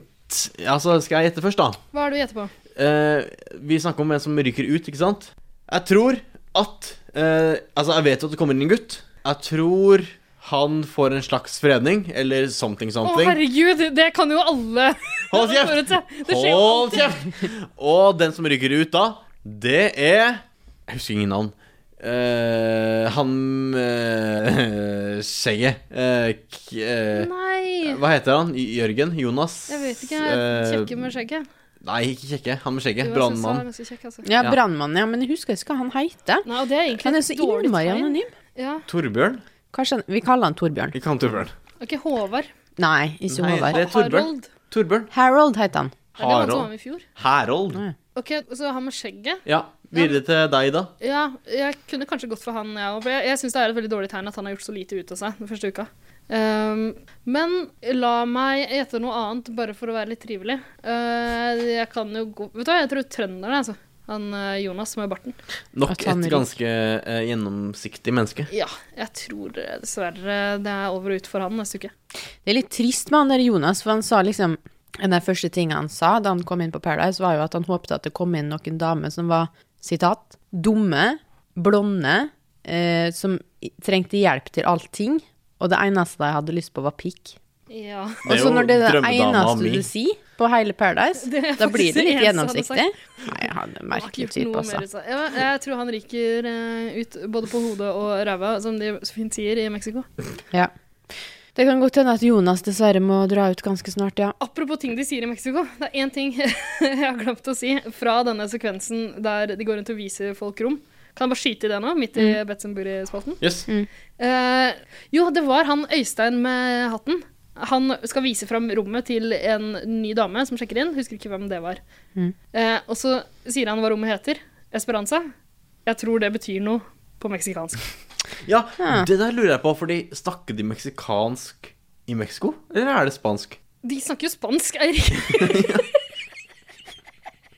Speaker 1: Altså, skal jeg gjette først, da?
Speaker 2: Hva er det du gjetter på?
Speaker 1: Eh, vi snakker om en som ryker ut, ikke sant? Jeg tror at eh, Altså, jeg vet jo at det kommer inn en gutt. Jeg tror han får en slags fredning, eller something
Speaker 2: Å,
Speaker 1: something.
Speaker 2: herregud, det kan jo alle
Speaker 1: Hold kjeft!
Speaker 2: forutse! Det skjer jo
Speaker 1: Hold kjeft! Og den som ryker ut da, det er Jeg husker ingen navn. Eh, han eh, Skjegget. Eh, k- eh,
Speaker 2: Nei,
Speaker 1: hva heter han? J- Jørgen? Jonas?
Speaker 2: jeg vet ikke.
Speaker 1: Eh,
Speaker 2: Kjekke med skjegget.
Speaker 1: Nei, ikke kjekke. Han med skjegget.
Speaker 2: Jo, jeg synes han er
Speaker 1: Brannmann.
Speaker 2: ganske kjekk, altså.
Speaker 4: Ja,
Speaker 1: Ja.
Speaker 4: brannmannen, ja. Men jeg husker ikke hva han heter.
Speaker 2: Nei, og det er egentlig
Speaker 4: Han er
Speaker 2: et
Speaker 4: så
Speaker 2: dårlig
Speaker 4: innmari
Speaker 2: tegn.
Speaker 4: anonym.
Speaker 2: Ja.
Speaker 1: Torbjørn?
Speaker 4: Kanskje han, vi kaller han Torbjørn.
Speaker 1: Ikke han Torbjørn.
Speaker 2: Ok, Håvard.
Speaker 4: Nei, ikke
Speaker 1: Nei,
Speaker 4: Håvard.
Speaker 1: det- er Torbjørn.
Speaker 2: Harold.
Speaker 1: Torbjørn.
Speaker 4: Harold heter han.
Speaker 2: Er det han som
Speaker 1: Harald.
Speaker 2: var med i fjor?
Speaker 1: Herold.
Speaker 4: Nei.
Speaker 2: Ok, Så han med skjegget.
Speaker 1: Ja, videre til deg, da.
Speaker 2: Ja, jeg kunne kanskje gått for han, jeg òg. For jeg, jeg syns det er et veldig dårlig tegn at han har gjort så lite ut av seg den første uka. Ehm, men la meg gjette noe annet, bare for å være litt trivelig. Eh, jeg kan jo gå Vet du hva, jeg tror trønderen, altså. Han eh, Jonas med barten.
Speaker 1: Nok
Speaker 4: At han
Speaker 1: et
Speaker 4: ryker.
Speaker 1: ganske eh, gjennomsiktig menneske.
Speaker 2: Ja, jeg tror eh, dessverre det er over og ut for han neste uke.
Speaker 4: Det er litt trist med han der Jonas, for han sa liksom En av de første tingene han sa da han kom inn på Paradise, var jo at han håpte at det kom inn noen damer som var, sitat, dumme, blonde, eh, som i- trengte hjelp til allting, og det eneste de hadde lyst på, var pikk.
Speaker 2: Ja.
Speaker 1: Det
Speaker 4: Og
Speaker 1: er
Speaker 4: så
Speaker 1: jo
Speaker 4: Altså, når det er det
Speaker 1: drømmedama
Speaker 4: eneste
Speaker 1: mi.
Speaker 4: du sier på hele Paradise,
Speaker 2: Det er
Speaker 4: da blir
Speaker 2: faktisk det
Speaker 4: det litt
Speaker 2: eneste han har
Speaker 4: gjennomsiktig.
Speaker 2: Jeg
Speaker 4: Nei, han er en
Speaker 2: har ikke
Speaker 4: merkelig
Speaker 2: gjort
Speaker 4: type,
Speaker 2: noe mer
Speaker 4: altså.
Speaker 2: ut av- Ja, jeg tror han ryker eh, ut både på hodet og ræva, som de så fint sier i Mexico.
Speaker 4: Ja. Det kan godt hende at Jonas dessverre må dra ut ganske snart, ja.
Speaker 2: Apropos ting de sier i Mexico. Det er én ting jeg har glemt å si fra denne sekvensen der de går rundt og viser folk rom. Kan jeg bare skyte i det nå, midt i mm. Betzenburi-spalten?
Speaker 1: Yes.
Speaker 2: Eh, jo, det var han Øystein med hatten. Han skal vise fram rommet til en ny dame som sjekker inn. Husker ikke hvem det var.
Speaker 1: Mm.
Speaker 2: Eh, og så sier han hva rommet heter. Esperanza. Jeg tror det betyr noe på meksikansk.
Speaker 1: Ja,
Speaker 4: Ja.
Speaker 1: det der lurer jeg på, fordi snakker de meksikansk i Mexico? Eller er det spansk?
Speaker 2: De snakker jo spansk, Eirik.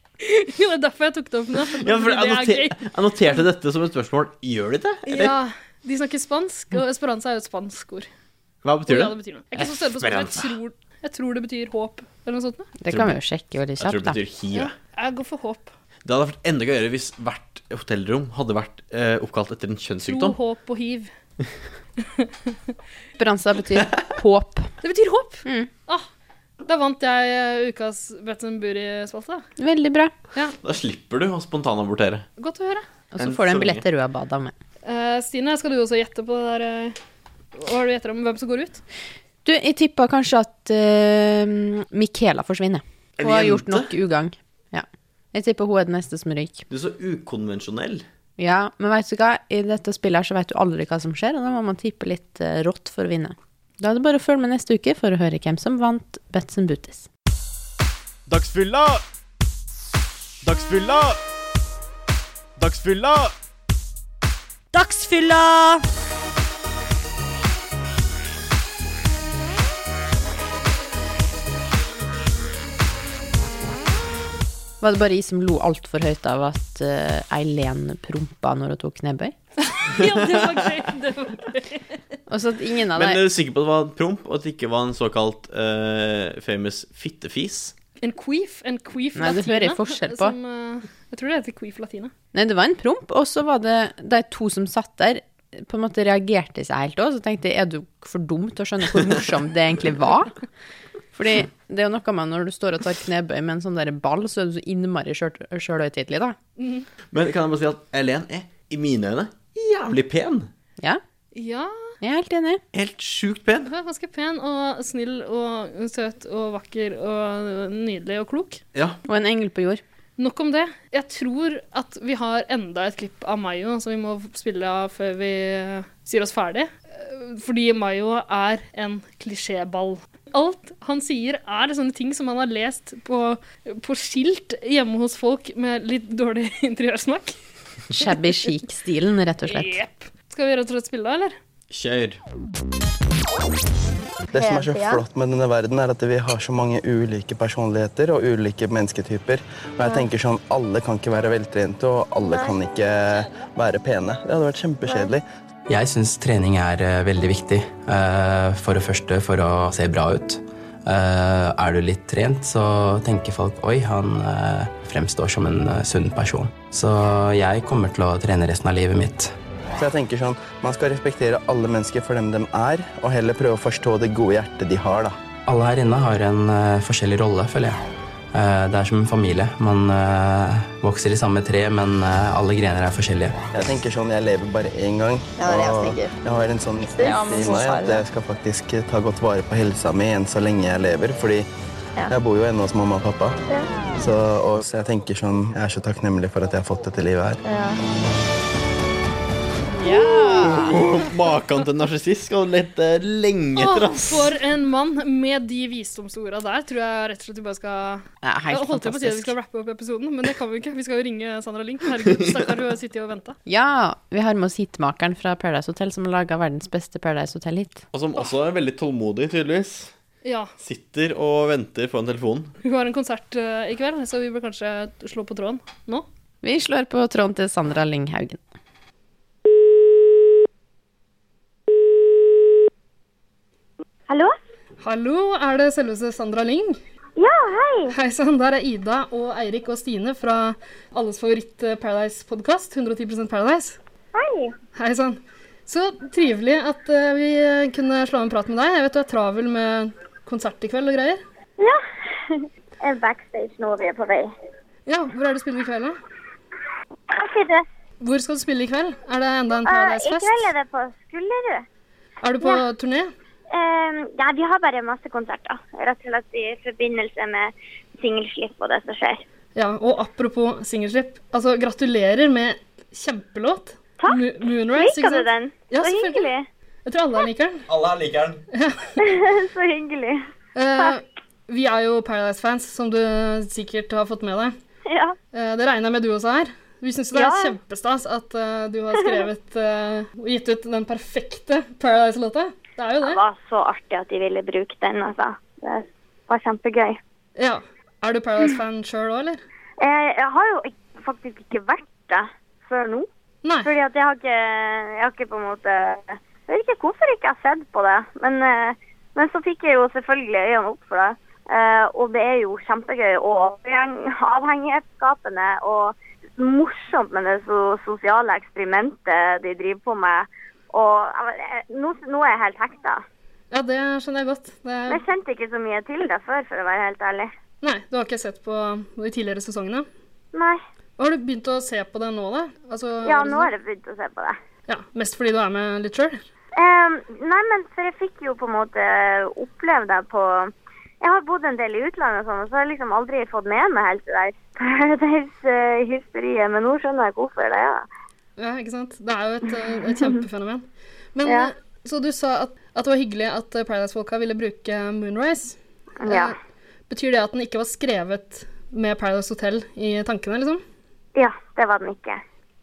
Speaker 2: det er derfor jeg tok det opp nå.
Speaker 1: Ja, for jeg,
Speaker 2: fordi det er gøy.
Speaker 1: noter, jeg noterte dette som et spørsmål. Gjør de det? Eller
Speaker 2: Ja, de snakker spansk, og esperanza er jo et spansk ord.
Speaker 1: hva
Speaker 2: Og
Speaker 1: betyr
Speaker 2: Ja,
Speaker 1: det?
Speaker 2: det betyr noe. Jeg er ikke så større på språk, men jeg tror Jeg tror det betyr håp, eller noe sånt. noe.
Speaker 4: Det kan vi jo sjekke veldig
Speaker 1: Jeg tror
Speaker 4: kjapt,
Speaker 1: det
Speaker 4: da.
Speaker 1: betyr hiv. jeg.
Speaker 2: Jeg går for håp.
Speaker 1: Det hadde vært enda gøyere hvis hvert hotellrom hadde vært eh, oppkalt etter en
Speaker 2: Tro,
Speaker 1: kjønnssykdom.
Speaker 2: håp og hiv.
Speaker 4: Esperanza betyr håp.
Speaker 2: Det betyr håp!
Speaker 4: Mm.
Speaker 2: Ah, da vant jeg eh, ukas Bretton Burry-spalte. da.
Speaker 4: Veldig bra.
Speaker 1: Da slipper du å spontanabortere.
Speaker 2: Godt å høre.
Speaker 4: Og så
Speaker 1: Enn så
Speaker 4: får du en
Speaker 1: lenge.
Speaker 4: billett til Ruabada med.
Speaker 2: Eh, Stine, skal du også gjette på det der eh, Hva har du gjetter om hvem som går ut?
Speaker 4: Du, jeg tippa kanskje at eh, Michaela forsvinner.
Speaker 1: En
Speaker 4: Hun har
Speaker 1: jente?
Speaker 4: gjort nok ugagn. Ja. Jeg tipper hun er den neste som ryker.
Speaker 1: Du er så ukonvensjonell.
Speaker 4: Ja, men veit du hva, i dette spillet her så veit du aldri hva som skjer, og da må man tippe litt eh, rått for å vinne. Da er det bare å følge med neste uke for å høre hvem som vant Betsen Booties.
Speaker 1: Dagsfylla! Dagsfylla! Dagsfylla!
Speaker 3: Dagsfylla!
Speaker 4: Var det bare jeg som lo altfor høyt av at eh, Eileen prompa når hun tok knebøy?
Speaker 2: Ja, det var gøy. Det var gøy.
Speaker 4: Og så at ingen av
Speaker 1: Men
Speaker 4: deg
Speaker 1: er du sikker på at det var promp, og at det ikke var en såkalt eh, famous fittefis?
Speaker 2: En queef. En queef
Speaker 4: Nei, det
Speaker 2: latina,
Speaker 4: hører jeg forskjell på.
Speaker 2: Som, eh, jeg tror det heter queef latina.
Speaker 4: Nei, det var en promp, og så var det de to som satt der, på en måte reagerte seg helt òg. Så tenkte jeg, er du for dum til å skjønne hvor morsomt det egentlig var? Fordi det er jo noe med når du står og tar knebøy med en sånn der ball, så er du så innmari sjøl- sjølhøytidelig, da.
Speaker 1: Men kan jeg bare si at Elen er, i mine øyne, jævlig pen.
Speaker 4: Ja,
Speaker 2: Ja,
Speaker 4: jeg er helt enig.
Speaker 1: Helt sjukt pen.
Speaker 2: hun er ganske pen og snill og søt og vakker og nydelig og klok.
Speaker 1: Ja.
Speaker 4: Og en engel på jord.
Speaker 2: Nok om det. Jeg tror at vi har enda et klipp av Mayo som vi må spille av før vi eh, sier oss ferdig. Eh, Fordi Mayo er en klisjéball. Alt han sier, er sånne ting som han har lest på, på skilt hjemme hos folk med litt dårlig interiørsmak.
Speaker 4: Shabby chic-stilen, rett og slett.
Speaker 2: Jep. Skal vi rett og slett spille, da, eller?
Speaker 1: Kjør.
Speaker 6: Det som er så
Speaker 7: Hele tida.
Speaker 6: flott med denne verden, er at vi har så mange ulike personligheter og ulike mennesketyper. Og jeg tenker sånn, Alle kan ikke være veltrente, og alle kan ikke være pene. Det hadde vært kjempekjedelig. Jeg syns trening er eh, veldig viktig. eh, For det første for å se bra ut. Eh, Er du litt trent, så tenker folk oi, han eh, fremstår som en eh, sunn person. Så jeg kommer til å trene resten av livet mitt. Så jeg tenker sånn, Man skal respektere alle mennesker for dem de er, og heller prøve å forstå det gode hjertet de har. da. Alle her inne har en eh, forskjellig rolle, føler jeg. Eh, det er som en familie. Man eh, vokser i samme tre, men eh, alle grener er forskjellige. Jeg tenker sånn, jeg lever bare én gang. og jeg, har en sånn i meg at jeg skal faktisk eh, ta godt vare på helsa mi enn så lenge jeg lever. fordi jeg bor jo ennå hos mamma og pappa. Så, og, så jeg tenker sånn, jeg er så takknemlig for at jeg har fått dette livet her.
Speaker 1: Maken til narsissist skal du lete eh, lenge etter,
Speaker 2: Å,
Speaker 1: ass.
Speaker 2: for en mann med de visdomsorda der, tror jeg rett og slett vi bare skal
Speaker 4: Ja,
Speaker 2: Jeg
Speaker 4: helt
Speaker 2: holdt jo på å si at vi
Speaker 4: fantastisk.
Speaker 2: skal rappe opp episoden, men det kan vi ikke. Vi skal jo ringe Sandra Link. Herregud, stakkar, hun har sittet og venta.
Speaker 4: Ja, vi har med oss hitmakeren fra Paradise Hotel, som har laga verdens beste Paradise Hotel-hit.
Speaker 1: Og som også er veldig tålmodig, tydeligvis.
Speaker 2: Ja.
Speaker 1: Sitter og venter foran telefonen.
Speaker 2: Hun har en konsert eh, i kveld, så vi bør kanskje slå på tråden nå.
Speaker 4: Vi slår på tråden til Sandra Lyng Haugen.
Speaker 10: Hallo?
Speaker 2: Hallo, er det selveste Sandra Lyng?
Speaker 10: Ja, hei.
Speaker 2: Hei sann, der er Ida og Eirik og Stine fra alles favoritt eh, Paradise-podkast, 110 Paradise.
Speaker 10: Hei.
Speaker 2: Hei sann. Så trivelig at eh, vi eh, kunne slå av en prat med deg. Jeg vet du er travel med konsert i kveld og greier.
Speaker 10: Ja. Jeg er backstage nå, vi er på vei.
Speaker 2: Ja, hvor er det du spiller i kveld, da?
Speaker 10: Ok, du.
Speaker 2: Hvor skal du spille i kveld? Er det enda en
Speaker 10: eh, I
Speaker 2: Paradise-fest?
Speaker 10: kveld er det på Skullerud.
Speaker 2: Er du på turné?
Speaker 10: Um, ja, vi har bare masse konserter. Rett og slett i forbindelse med singelslipp og det som skjer.
Speaker 2: Ja, og apropos singelslipp. Altså, gratulerer med kjempelåt.
Speaker 10: Takk.
Speaker 2: Mo- Moonrise, ikke
Speaker 10: Liker du
Speaker 2: sant?
Speaker 10: den?
Speaker 2: Ja,
Speaker 10: så
Speaker 2: selvfølgelig.
Speaker 10: hyggelig.
Speaker 2: Jeg tror alle liker den.
Speaker 1: Alle her liker den.
Speaker 10: så hyggelig.
Speaker 2: Eh, vi er jo Paradise-fans, som du sikkert har fått med deg.
Speaker 10: Ja.
Speaker 2: Eh, det regner jeg med du også er. Vi syns det
Speaker 10: Ja.
Speaker 2: er kjempestas at eh, du har skrevet eh, og gitt ut den perfekte Paradise-låta. Det er jo
Speaker 10: Det
Speaker 2: det.
Speaker 10: var så artig at de ville bruke den, altså. Det var kjempegøy.
Speaker 2: Ja. Er du Paradise-fan sjøl òg, eller?
Speaker 10: Eh, jeg har jo ik- faktisk ikke vært det før nå.
Speaker 2: Nei.
Speaker 10: Fordi at jeg har ikke, jeg har ikke på en måte Jeg vet ikke hvorfor ikke jeg har sett på det. Men eh, Men så fikk jeg jo selvfølgelig øynene opp for det. Eh, og det er jo kjempegøy og avheng- avhengighetsskapende og morsomt med det so sosiale eksperimentet de driver på med. Og ja, men, eh, nå, nå er jeg helt hekta.
Speaker 2: Ja, det skjønner jeg godt. Det
Speaker 10: Men
Speaker 2: er...
Speaker 10: jeg kjente ikke så mye til det før, for å være helt ærlig.
Speaker 2: Nei, du har ikke sett på de tidligere sesongene?
Speaker 10: Nei.
Speaker 2: Har du begynt å se på det nå, da? Altså,
Speaker 10: Ja, nå har jeg begynt å se på det.
Speaker 2: Ja, Mest fordi du er med litt sjøl?
Speaker 10: Ehm, nei, men for jeg fikk jo på en måte eh, oppleve det på Jeg har bodd en del i utlandet, og sånn, og så har jeg liksom aldri fått med meg helt det der Paradise-hysteriet. Men nå skjønner jeg hvorfor det er det.
Speaker 2: Ja, ikke sant? Det er jo et, eh, et kjempefenomen. Men
Speaker 10: Ja.
Speaker 2: eh, Så du sa at, at det var hyggelig at eh, Paradise-folka ville bruke Moonrise. Eh,
Speaker 10: Ja.
Speaker 2: Betyr det at den ikke var skrevet med Paradise Hotel i tankene, liksom?
Speaker 10: Ja, det var den ikke.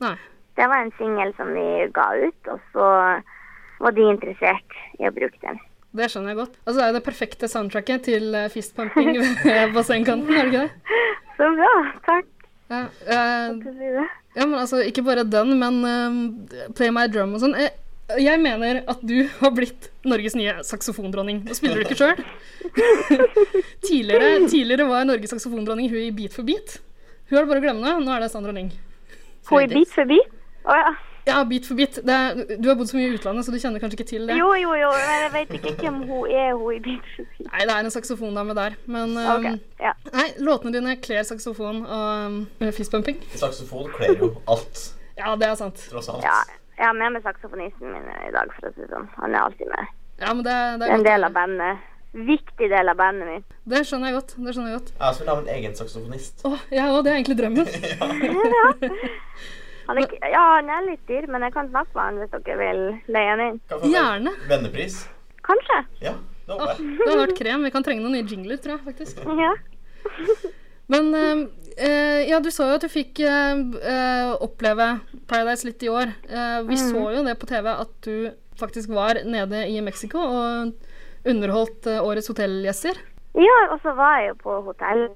Speaker 2: Nei.
Speaker 10: Det var en singel som de ga ut, og så var de interessert i å bruke den.
Speaker 2: Det skjønner jeg godt. Altså, det er jo det perfekte soundtracket til eh, fistpumping ved bassengkanten, er det ikke det?
Speaker 10: Så bra. Takk.
Speaker 2: Ja, eh,
Speaker 10: for at du sier det.
Speaker 2: ja, men altså, ikke bare den, men eh, Play My Drum og sånn. Eh, Jeg mener at du har blitt Norges nye saksofondronning. Nå spiller du ikke sjøl. tidligere, tidligere var Norges saksofondronning hun i Beat for beat. Hun er det bare å glemme nå. Nå er det Sandra Lyng.
Speaker 10: Hun er bit for bit. Å ja.
Speaker 2: Ja, Beat for beat. Det er, du har bodd så mye i utlandet, så du kjenner kanskje ikke til det.
Speaker 10: Jo, jo, jo. Men jeg vet ikke hvem hun er, hun i bit for bit.
Speaker 2: Nei, det er en saksofondame der, men
Speaker 10: Ok,
Speaker 2: eh,
Speaker 10: ja.
Speaker 2: Nei, låtene dine kler saksofon og um, fistpumping.
Speaker 1: Saksofon kler jo alt,
Speaker 2: Ja, det er sant.
Speaker 1: tross alt.
Speaker 10: Ja, jeg har med meg saksofonisten min i dag, for å si det sånn. Han er alltid med.
Speaker 2: Ja, men det, det, er
Speaker 10: Det er en
Speaker 2: godt.
Speaker 10: del av bandet. Viktig del av bandet mitt.
Speaker 2: det skjønner jeg godt. Det skjønner jeg godt.
Speaker 1: Jeg også vil ha min egen saksofonist.
Speaker 2: Åh, ja, og det er egentlig drømmen.
Speaker 10: Han er, ikke- ja, han er litt dyr, men jeg kan snakke med han hvis dere vil leie han inn.
Speaker 1: Kan jeg få en
Speaker 2: Gjerne.
Speaker 1: Vennepris.
Speaker 10: Kanskje.
Speaker 1: Ja, det
Speaker 2: Åh,
Speaker 1: håper jeg.
Speaker 2: det hadde vært krem. Vi kan trenge noen nye jingler, tror jeg, faktisk.
Speaker 10: Ja.
Speaker 2: Men eh, eh, ja, du sa jo at du fikk eh, eh, oppleve Paradise litt i år. Eh, vi så jo det på TV at du faktisk var nede i Mexico og underholdt eh, årets hotellgjester.
Speaker 10: ja, og så var jeg jo på hotell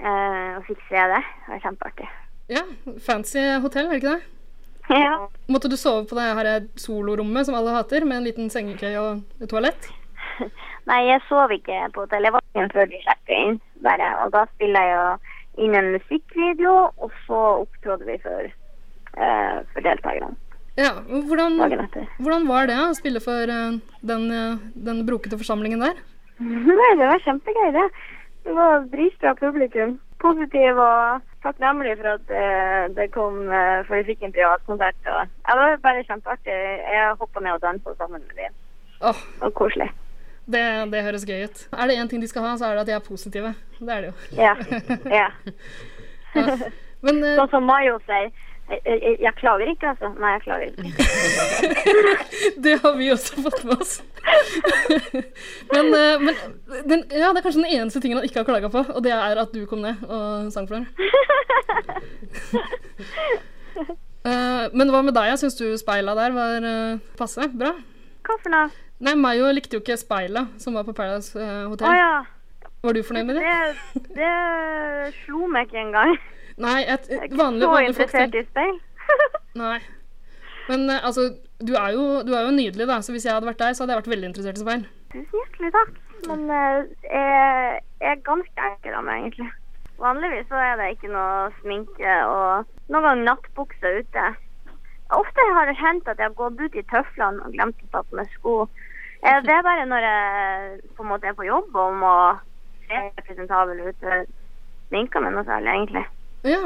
Speaker 10: eh, og fikk se det. Det var kjempeartig.
Speaker 2: Ja, fancy hotell, er det ikke det?
Speaker 10: Ja.
Speaker 2: Måtte du sove på det her solorommet som alle hater, med en liten sengekøy og et toalett?
Speaker 10: Nei, jeg sov ikke på hotell. Jeg var inn før de sjekket inn. Bare. Og da spiller jeg jo inn en musikkvideo, og så opptrådte vi for, eh, for deltakerne
Speaker 2: Ja, og hvordan,
Speaker 10: dagen etter.
Speaker 2: hvordan var det å spille for eh, den, eh, den brokete forsamlingen der?
Speaker 10: Nei, det var kjempegøy, det. Det var dritbra publikum. Positiv og takknemlig for at eh, det kom, eh, for vi fikk en privatkonsert. Og, ja, det var bare kjempeartig. Jeg hoppa ned og dansa sammen med dem.
Speaker 2: Åh,
Speaker 10: Og koselig.
Speaker 2: det, det høres gøy ut. Er det én ting de skal ha, så er det at de er positive. Det er det jo.
Speaker 10: Ja. ja.
Speaker 2: Men eh,
Speaker 10: Sånn som Mayo sier. Jeg, jeg, jeg klager ikke, altså. Nei, jeg klager ikke.
Speaker 2: det har vi også fått med oss. men eh, men den, ja, det er kanskje den eneste tingen han ikke har klaga på, og det er at du kom ned og sang for ham. Eh, men hva med deg? Syns du speila der var eh, passe? Bra?
Speaker 10: Hva for noe?
Speaker 2: Nei, Mayo likte jo ikke speilet som var på Paradise eh, Hotel.
Speaker 10: Å ja.
Speaker 2: Var du fornøyd med det?
Speaker 10: Det, det slo meg ikke engang.
Speaker 2: Nei, et,
Speaker 10: Jeg er
Speaker 2: et
Speaker 10: ikke
Speaker 2: vanlig,
Speaker 10: så
Speaker 2: vanlig folk
Speaker 10: interessert
Speaker 2: tenker
Speaker 10: i speil.
Speaker 2: Nei. Men eh, altså, du er, jo, du er jo nydelig, da, så hvis jeg hadde vært deg, så hadde jeg vært veldig interessert i speil.
Speaker 10: Tusen hjertelig takk. Men eh, jeg, jeg er ganske enkel av meg, egentlig. Vanligvis så er det ikke noe sminke og noen gang nattbukse ute. Ofte har det hendt at jeg har gått ut i tøflene og glemt å ta på meg sko. Eh, det er bare når jeg på en måte er på jobb og må se presentabel ut. Jeg Sminker meg noe særlig, egentlig.
Speaker 2: Ja.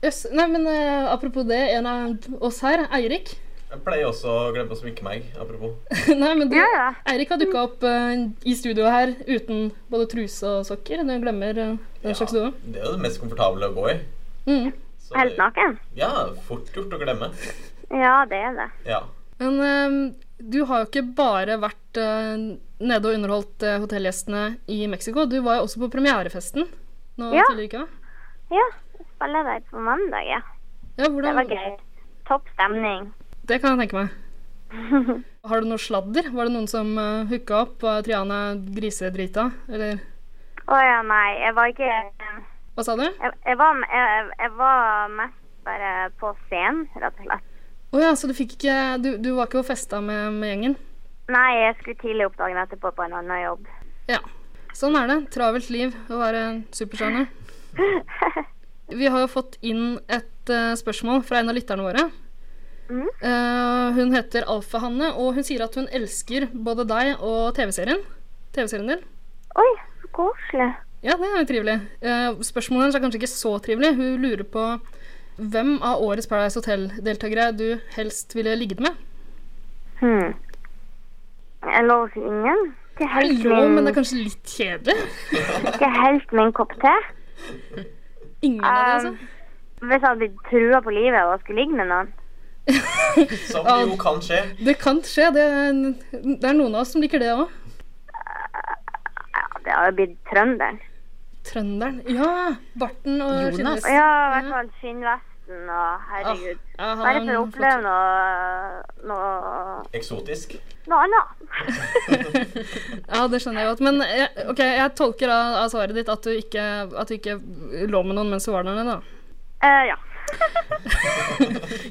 Speaker 2: Jøss. Nei, men eh, apropos det, en av oss her, Eirik
Speaker 1: Jeg pleier også å glemme å sminke meg, apropos.
Speaker 2: Nei, men du,
Speaker 10: Ja, ja.
Speaker 2: Eirik har dukka opp eh, i studio her uten både truse og sokker. Du glemmer eh, den slags du
Speaker 1: Ja,
Speaker 2: òg.
Speaker 1: det er jo det mest komfortable å gå i.
Speaker 2: Mm.
Speaker 1: Så
Speaker 10: Helt
Speaker 1: det-
Speaker 10: naken.
Speaker 1: Ja, fort gjort å glemme.
Speaker 10: Ja, det er det.
Speaker 1: Ja.
Speaker 2: Men eh, du har jo ikke bare vært eh, nede og underholdt eh, hotellgjestene i Mexico. Du var jo også på premierefesten nå
Speaker 10: Ja.
Speaker 2: tidligere i uka.
Speaker 10: Ja, jeg spiller der på mandag, ja.
Speaker 2: Ja,
Speaker 10: Det
Speaker 2: hvordan,
Speaker 10: var gøy. Topp stemning.
Speaker 2: Det kan jeg tenke meg. Har du noe sladder? Var det noen som uh, hooka opp? Var Triana grisedrita? Eller
Speaker 10: Å ja, nei. Jeg var ikke eh,
Speaker 2: hva sa du?
Speaker 10: Jeg, jeg, var, jeg, jeg var mest bare på scenen, rett og slett.
Speaker 2: Å ja, så du fikk ikke Du, du var ikke og festa med, med gjengen?
Speaker 10: Nei, jeg skulle tidlig opp dagen etterpå på en annen jobb.
Speaker 2: Ja. Sånn er det. Travelt liv å være en superstjerne. Vi har jo fått inn et eh, spørsmål fra en av lytterne våre. Eh, hun heter Alfa-Hanne, og hun sier at hun elsker både deg og TV-serien. TV-serien din.
Speaker 10: Oi, så koselig.
Speaker 2: Ja, det er jo trivelig. Eh, spørsmålet hennes er kanskje ikke så trivelig. Hun lurer på hvem av årets Paradise Hotel-deltakere du helst ville ligget med.
Speaker 10: Hmm. Jeg lover ikke ingen. Ikke helt
Speaker 2: Jo,
Speaker 10: min-
Speaker 2: men det er kanskje litt kjedelig.
Speaker 10: Ikke helt min kopp te.
Speaker 2: Ingen av det, altså.
Speaker 10: Um, Hvis jeg hadde blitt trua på livet og skulle ligge med noen.
Speaker 1: Som
Speaker 2: jo
Speaker 1: kan skje.
Speaker 2: Det kan skje. Det er, det er noen av oss som liker det òg.
Speaker 10: Ja, det hadde blitt trønderen.
Speaker 2: Trønderen. Ja! Barten og Ah,
Speaker 4: Jonas.
Speaker 10: Ja, i hvert fall skinnvesten og herregud.
Speaker 2: Ja, han
Speaker 10: Bare
Speaker 2: er
Speaker 10: for å
Speaker 2: en flott-
Speaker 10: oppleve noe noe,
Speaker 1: Eksotisk.
Speaker 10: noe annet.
Speaker 2: Ja, det skjønner jeg godt. Men jeg, ok, jeg tolker av, av svaret ditt at du, ikke, at du ikke lå med noen mens du var der nede, da.
Speaker 10: Eh, ja.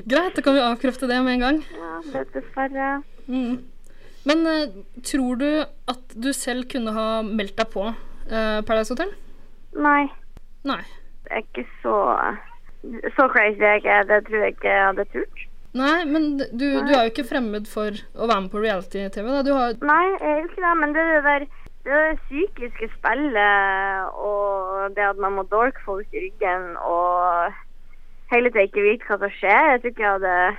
Speaker 2: Greit, da kan vi avkrefte det med en gang.
Speaker 10: ja. det er Dessverre.
Speaker 2: Mm. Men eh, tror du at du selv kunne ha meldt deg på eh, Paradise Hotel?
Speaker 10: Nei.
Speaker 2: Nei.
Speaker 10: Det er ikke så Så crazy jeg er. Det tror jeg ikke jeg hadde turt.
Speaker 2: Nei, men du, du er jo ikke fremmed for å være med på reality-TV. da. Du har
Speaker 10: Nei, jeg er jo ikke det, men det er det der det er det psykiske spillet og det at man må dolke folk i ryggen og hele tida ikke vite hva som skjer. Jeg tror ikke jeg hadde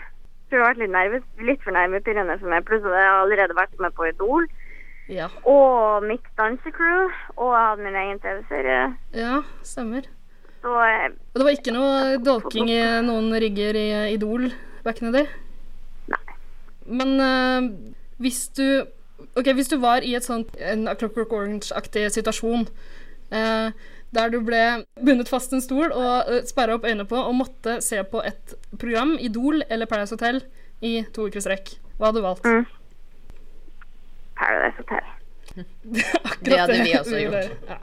Speaker 10: tror jeg hadde vært litt, nervøs, litt for nervepirrende for meg. Pluss at jeg har allerede vært med på Idol
Speaker 2: Ja.
Speaker 10: og mitt dansecrew. Og jeg hadde min egen TV-serie.
Speaker 2: ja stemmer.
Speaker 10: Så eh,
Speaker 2: Og det var ikke noe dolking i noen rygger i eh, Idol back in the day? Nei. Men eh, hvis du Ok, hvis du var i et sånt en A Clockwork Orange-aktig situasjon eh, der du ble bundet fast en stol og uh, sperra opp øynene på og måtte se på et program, Idol eller Paradise Hotel, i to uker strekk, hva hadde du valgt?
Speaker 10: Mm. Paradise Hotel.
Speaker 2: Akkurat
Speaker 4: Det hadde vi også
Speaker 2: vi
Speaker 4: gjort.
Speaker 2: gjør. Ja.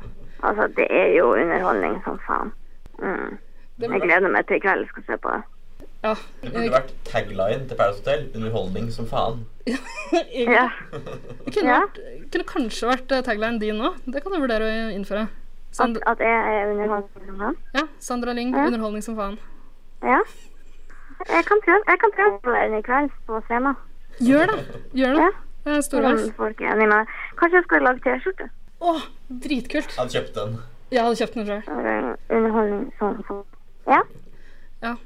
Speaker 10: Altså, det er jo underholdning som faen. Mm.
Speaker 2: Det
Speaker 10: Jeg
Speaker 2: burde,
Speaker 10: gleder meg til i kveld jeg skal se på det.
Speaker 2: ja.
Speaker 1: Det burde
Speaker 2: eh,
Speaker 1: vært tagline til Paradise Hotel. Underholdning som faen.
Speaker 2: egentlig.
Speaker 10: Ja.
Speaker 2: Det eh, kunne,
Speaker 10: Ja.
Speaker 2: vært, kunne kanskje vært eh, tagline din nå. Det kan du vurdere å innføre.
Speaker 10: At,
Speaker 2: Sand
Speaker 10: at jeg er underholdning som faen.
Speaker 2: ja, Sandra Lyng,
Speaker 10: Ja.
Speaker 2: underholdning som faen.
Speaker 10: Ja. Jeg kan prøve, jeg kan prøve på det i kveld på scenen.
Speaker 2: Gjør det! Gjør det.
Speaker 10: Ja.
Speaker 2: Det er stor
Speaker 10: Om
Speaker 2: verv.
Speaker 10: folk er enig med meg. Kanskje jeg skal lage T-skjorte.
Speaker 2: Å, dritkult!
Speaker 1: Hadde kjøpt den.
Speaker 2: Jeg hadde kjøpt den sjøl.
Speaker 10: Eh, Underholdning sånn, som faen.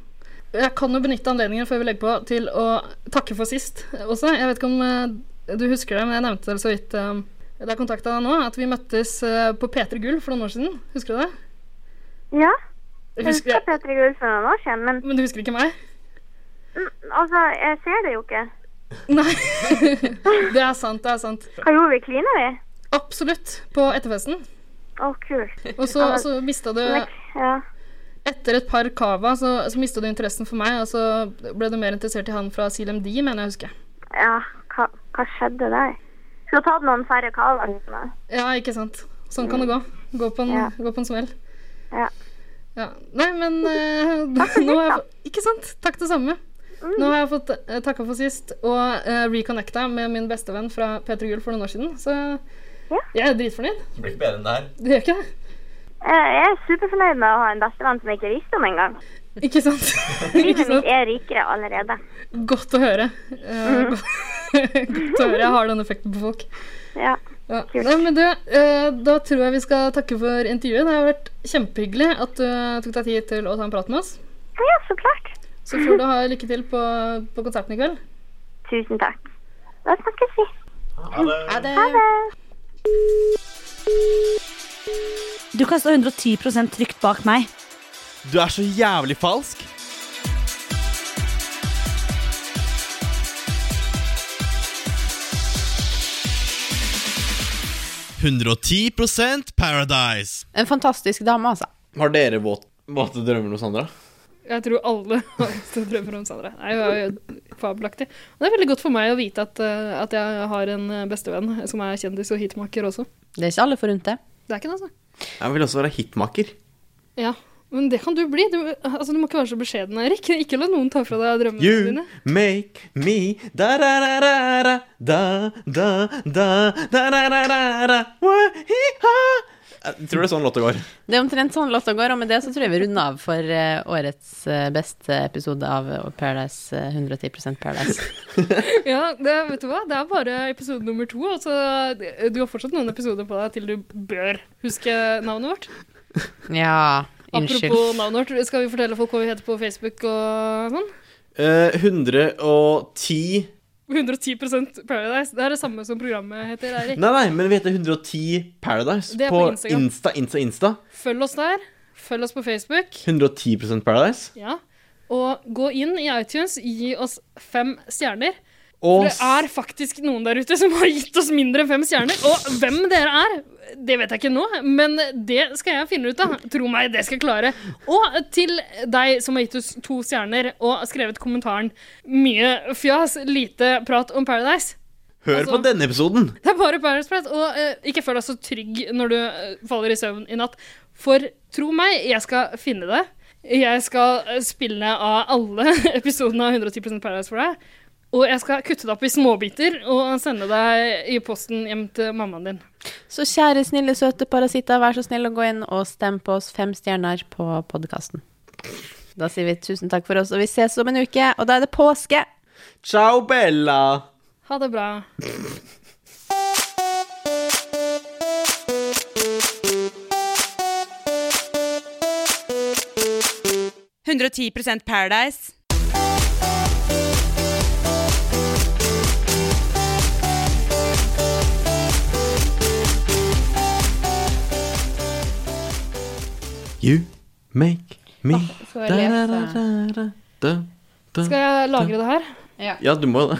Speaker 2: Jeg kan jo benytte anledningen før vi legger på, til å takke for sist også. Jeg vet ikke om eh, du husker det, men jeg nevnte det så vidt eh, da jeg kontakta deg nå, at vi møttes eh, på P3 Gull for noen år siden. Husker du det?
Speaker 10: Ja.
Speaker 2: Jeg
Speaker 10: Jeg
Speaker 2: Husker,
Speaker 10: husker Petter Gull for noen år siden, men
Speaker 2: men du husker ikke meg?
Speaker 10: mm, altså, jeg ser det jo ikke.
Speaker 2: Nei. det er sant, det er sant.
Speaker 10: Hva gjorde vi? Klina vi?
Speaker 2: Absolutt. På etterfesten.
Speaker 10: Å, kult.
Speaker 2: Og så, og så mista du
Speaker 10: Men- Ja.
Speaker 2: Etter et par cava så, så mista du interessen for meg, og så ble du mer interessert i han fra CLMD, mener jeg å huske.
Speaker 10: ja. Hva, hva skjedde der? Skulle tatt noen færre kavaer.
Speaker 2: Ja, ikke sant. Sånn kan det gå. Gå på en,
Speaker 10: Mm. Ja.
Speaker 2: gå på en smell.
Speaker 10: Ja.
Speaker 2: Ja. Nei, men eh, nå har jeg fått Ikke sant? Takk, det samme.
Speaker 10: Mm.
Speaker 2: Nå har jeg fått uh, takka for sist og uh, reconnecta med min bestevenn fra P3 Gull for noen år siden, så
Speaker 10: Ja.
Speaker 2: jeg er dritfornøyd.
Speaker 1: Det blir ikke bedre enn det her.
Speaker 2: Det gjør ikke det?
Speaker 10: Jeg er superfornøyd med å ha en bestevenn som jeg ikke visste om engang.
Speaker 2: Ikke sant? ikke
Speaker 10: Livet mitt
Speaker 2: sant?
Speaker 10: er rikere allerede.
Speaker 2: Godt å høre. Eh,
Speaker 10: Mm.
Speaker 2: Godt å høre. Jeg har den effekten på folk.
Speaker 10: Ja.
Speaker 2: Ja.
Speaker 10: Kult.
Speaker 2: Nei, men du, eh, da tror jeg vi skal takke for intervjuet. Det har vært kjempehyggelig at du eh, tok deg tid til å ta en prat med oss.
Speaker 10: ja, så klart.
Speaker 2: Så får du ha lykke til på, på konserten i kveld.
Speaker 10: Tusen takk. Da snakkes vi.
Speaker 1: Ha det.
Speaker 4: Ha det.
Speaker 3: Du kan stå 110 trygt bak meg.
Speaker 1: Du er så jævlig falsk.
Speaker 9: Paradise.
Speaker 4: En fantastisk dame, altså.
Speaker 1: Har dere våt, våte drømmer hos Sandra?
Speaker 2: Jeg tror alle drømmer om Sandra. Nei, Hun er jo fabelaktig. Og det er veldig godt for meg å vite at, eh, at jeg har en eh, bestevenn som er kjendis og hitmaker også.
Speaker 4: Det er ikke alle forunt, det.
Speaker 2: Det er ikke det, altså.
Speaker 1: Jeg vil også være hitmaker.
Speaker 2: Ja. Men det kan du bli. Du, altså, du må ikke være så beskjeden, Erik. Ikke la noen ta fra deg drømmene
Speaker 1: You
Speaker 2: dine.
Speaker 1: make me da da da da da da da da da da da da da Wah-hi-ha. Jeg tror det er sånn låta går.
Speaker 4: Det er omtrent sånn låta går, og med det så tror jeg vi runder av for eh, årets eh, beste episode av eh, Paradise eh, 110 Paradise.
Speaker 2: Ja, det, vet du hva? det er bare episode nummer to. Altså, du har fortsatt noen episoder på deg til du bør huske navnet vårt.
Speaker 4: Ja, unnskyld.
Speaker 2: Apropos navnet vårt, skal vi fortelle folk hva vi heter på Facebook og sånn?
Speaker 1: Eh, 110
Speaker 2: 110 Paradise. Det er det samme som programmet heter, Eirik.
Speaker 1: Nei, nei, men vi heter 110 Paradise
Speaker 2: Det er
Speaker 1: på,
Speaker 2: på Instagram.
Speaker 1: Insta, Insta, Insta.
Speaker 2: Følg oss der. Følg oss på Facebook.
Speaker 1: 110 Paradise.
Speaker 2: Ja. Og gå inn i iTunes, gi oss fem stjerner.
Speaker 1: Og
Speaker 2: For det er faktisk noen der ute som har gitt oss mindre enn fem stjerner. Og hvem dere er, det vet jeg ikke nå, men det skal jeg finne ut av. Tro meg, det skal jeg klare. Og til deg som har gitt oss to stjerner og skrevet kommentaren 'mye fjas, lite prat om Paradise'.
Speaker 1: hør på
Speaker 2: altså-
Speaker 1: denne episoden!
Speaker 2: Det er bare Paradise Prat. Og eh, ikke føl deg så trygg når du eh, faller i søvn i natt. For tro meg, jeg skal finne det. Jeg skal eh, spille av alle episodene av 110 Paradise for deg. Og jeg skal kutte det opp i småbiter og sende deg i posten hjem til mammaen din.
Speaker 4: Så kjære, snille, søte parasitter, vær så snill å gå inn og stem på oss fem stjerner på podkasten. Da sier vi tusen takk for oss, og vi ses om en uke, og da er det påske!
Speaker 1: Ciao, Bella!
Speaker 2: Ha det bra.
Speaker 11: Paradise.
Speaker 1: You make me
Speaker 2: Skal jeg, lese?
Speaker 1: da, da, da.
Speaker 2: Skal jeg lagre det her?
Speaker 1: Ja, du må det.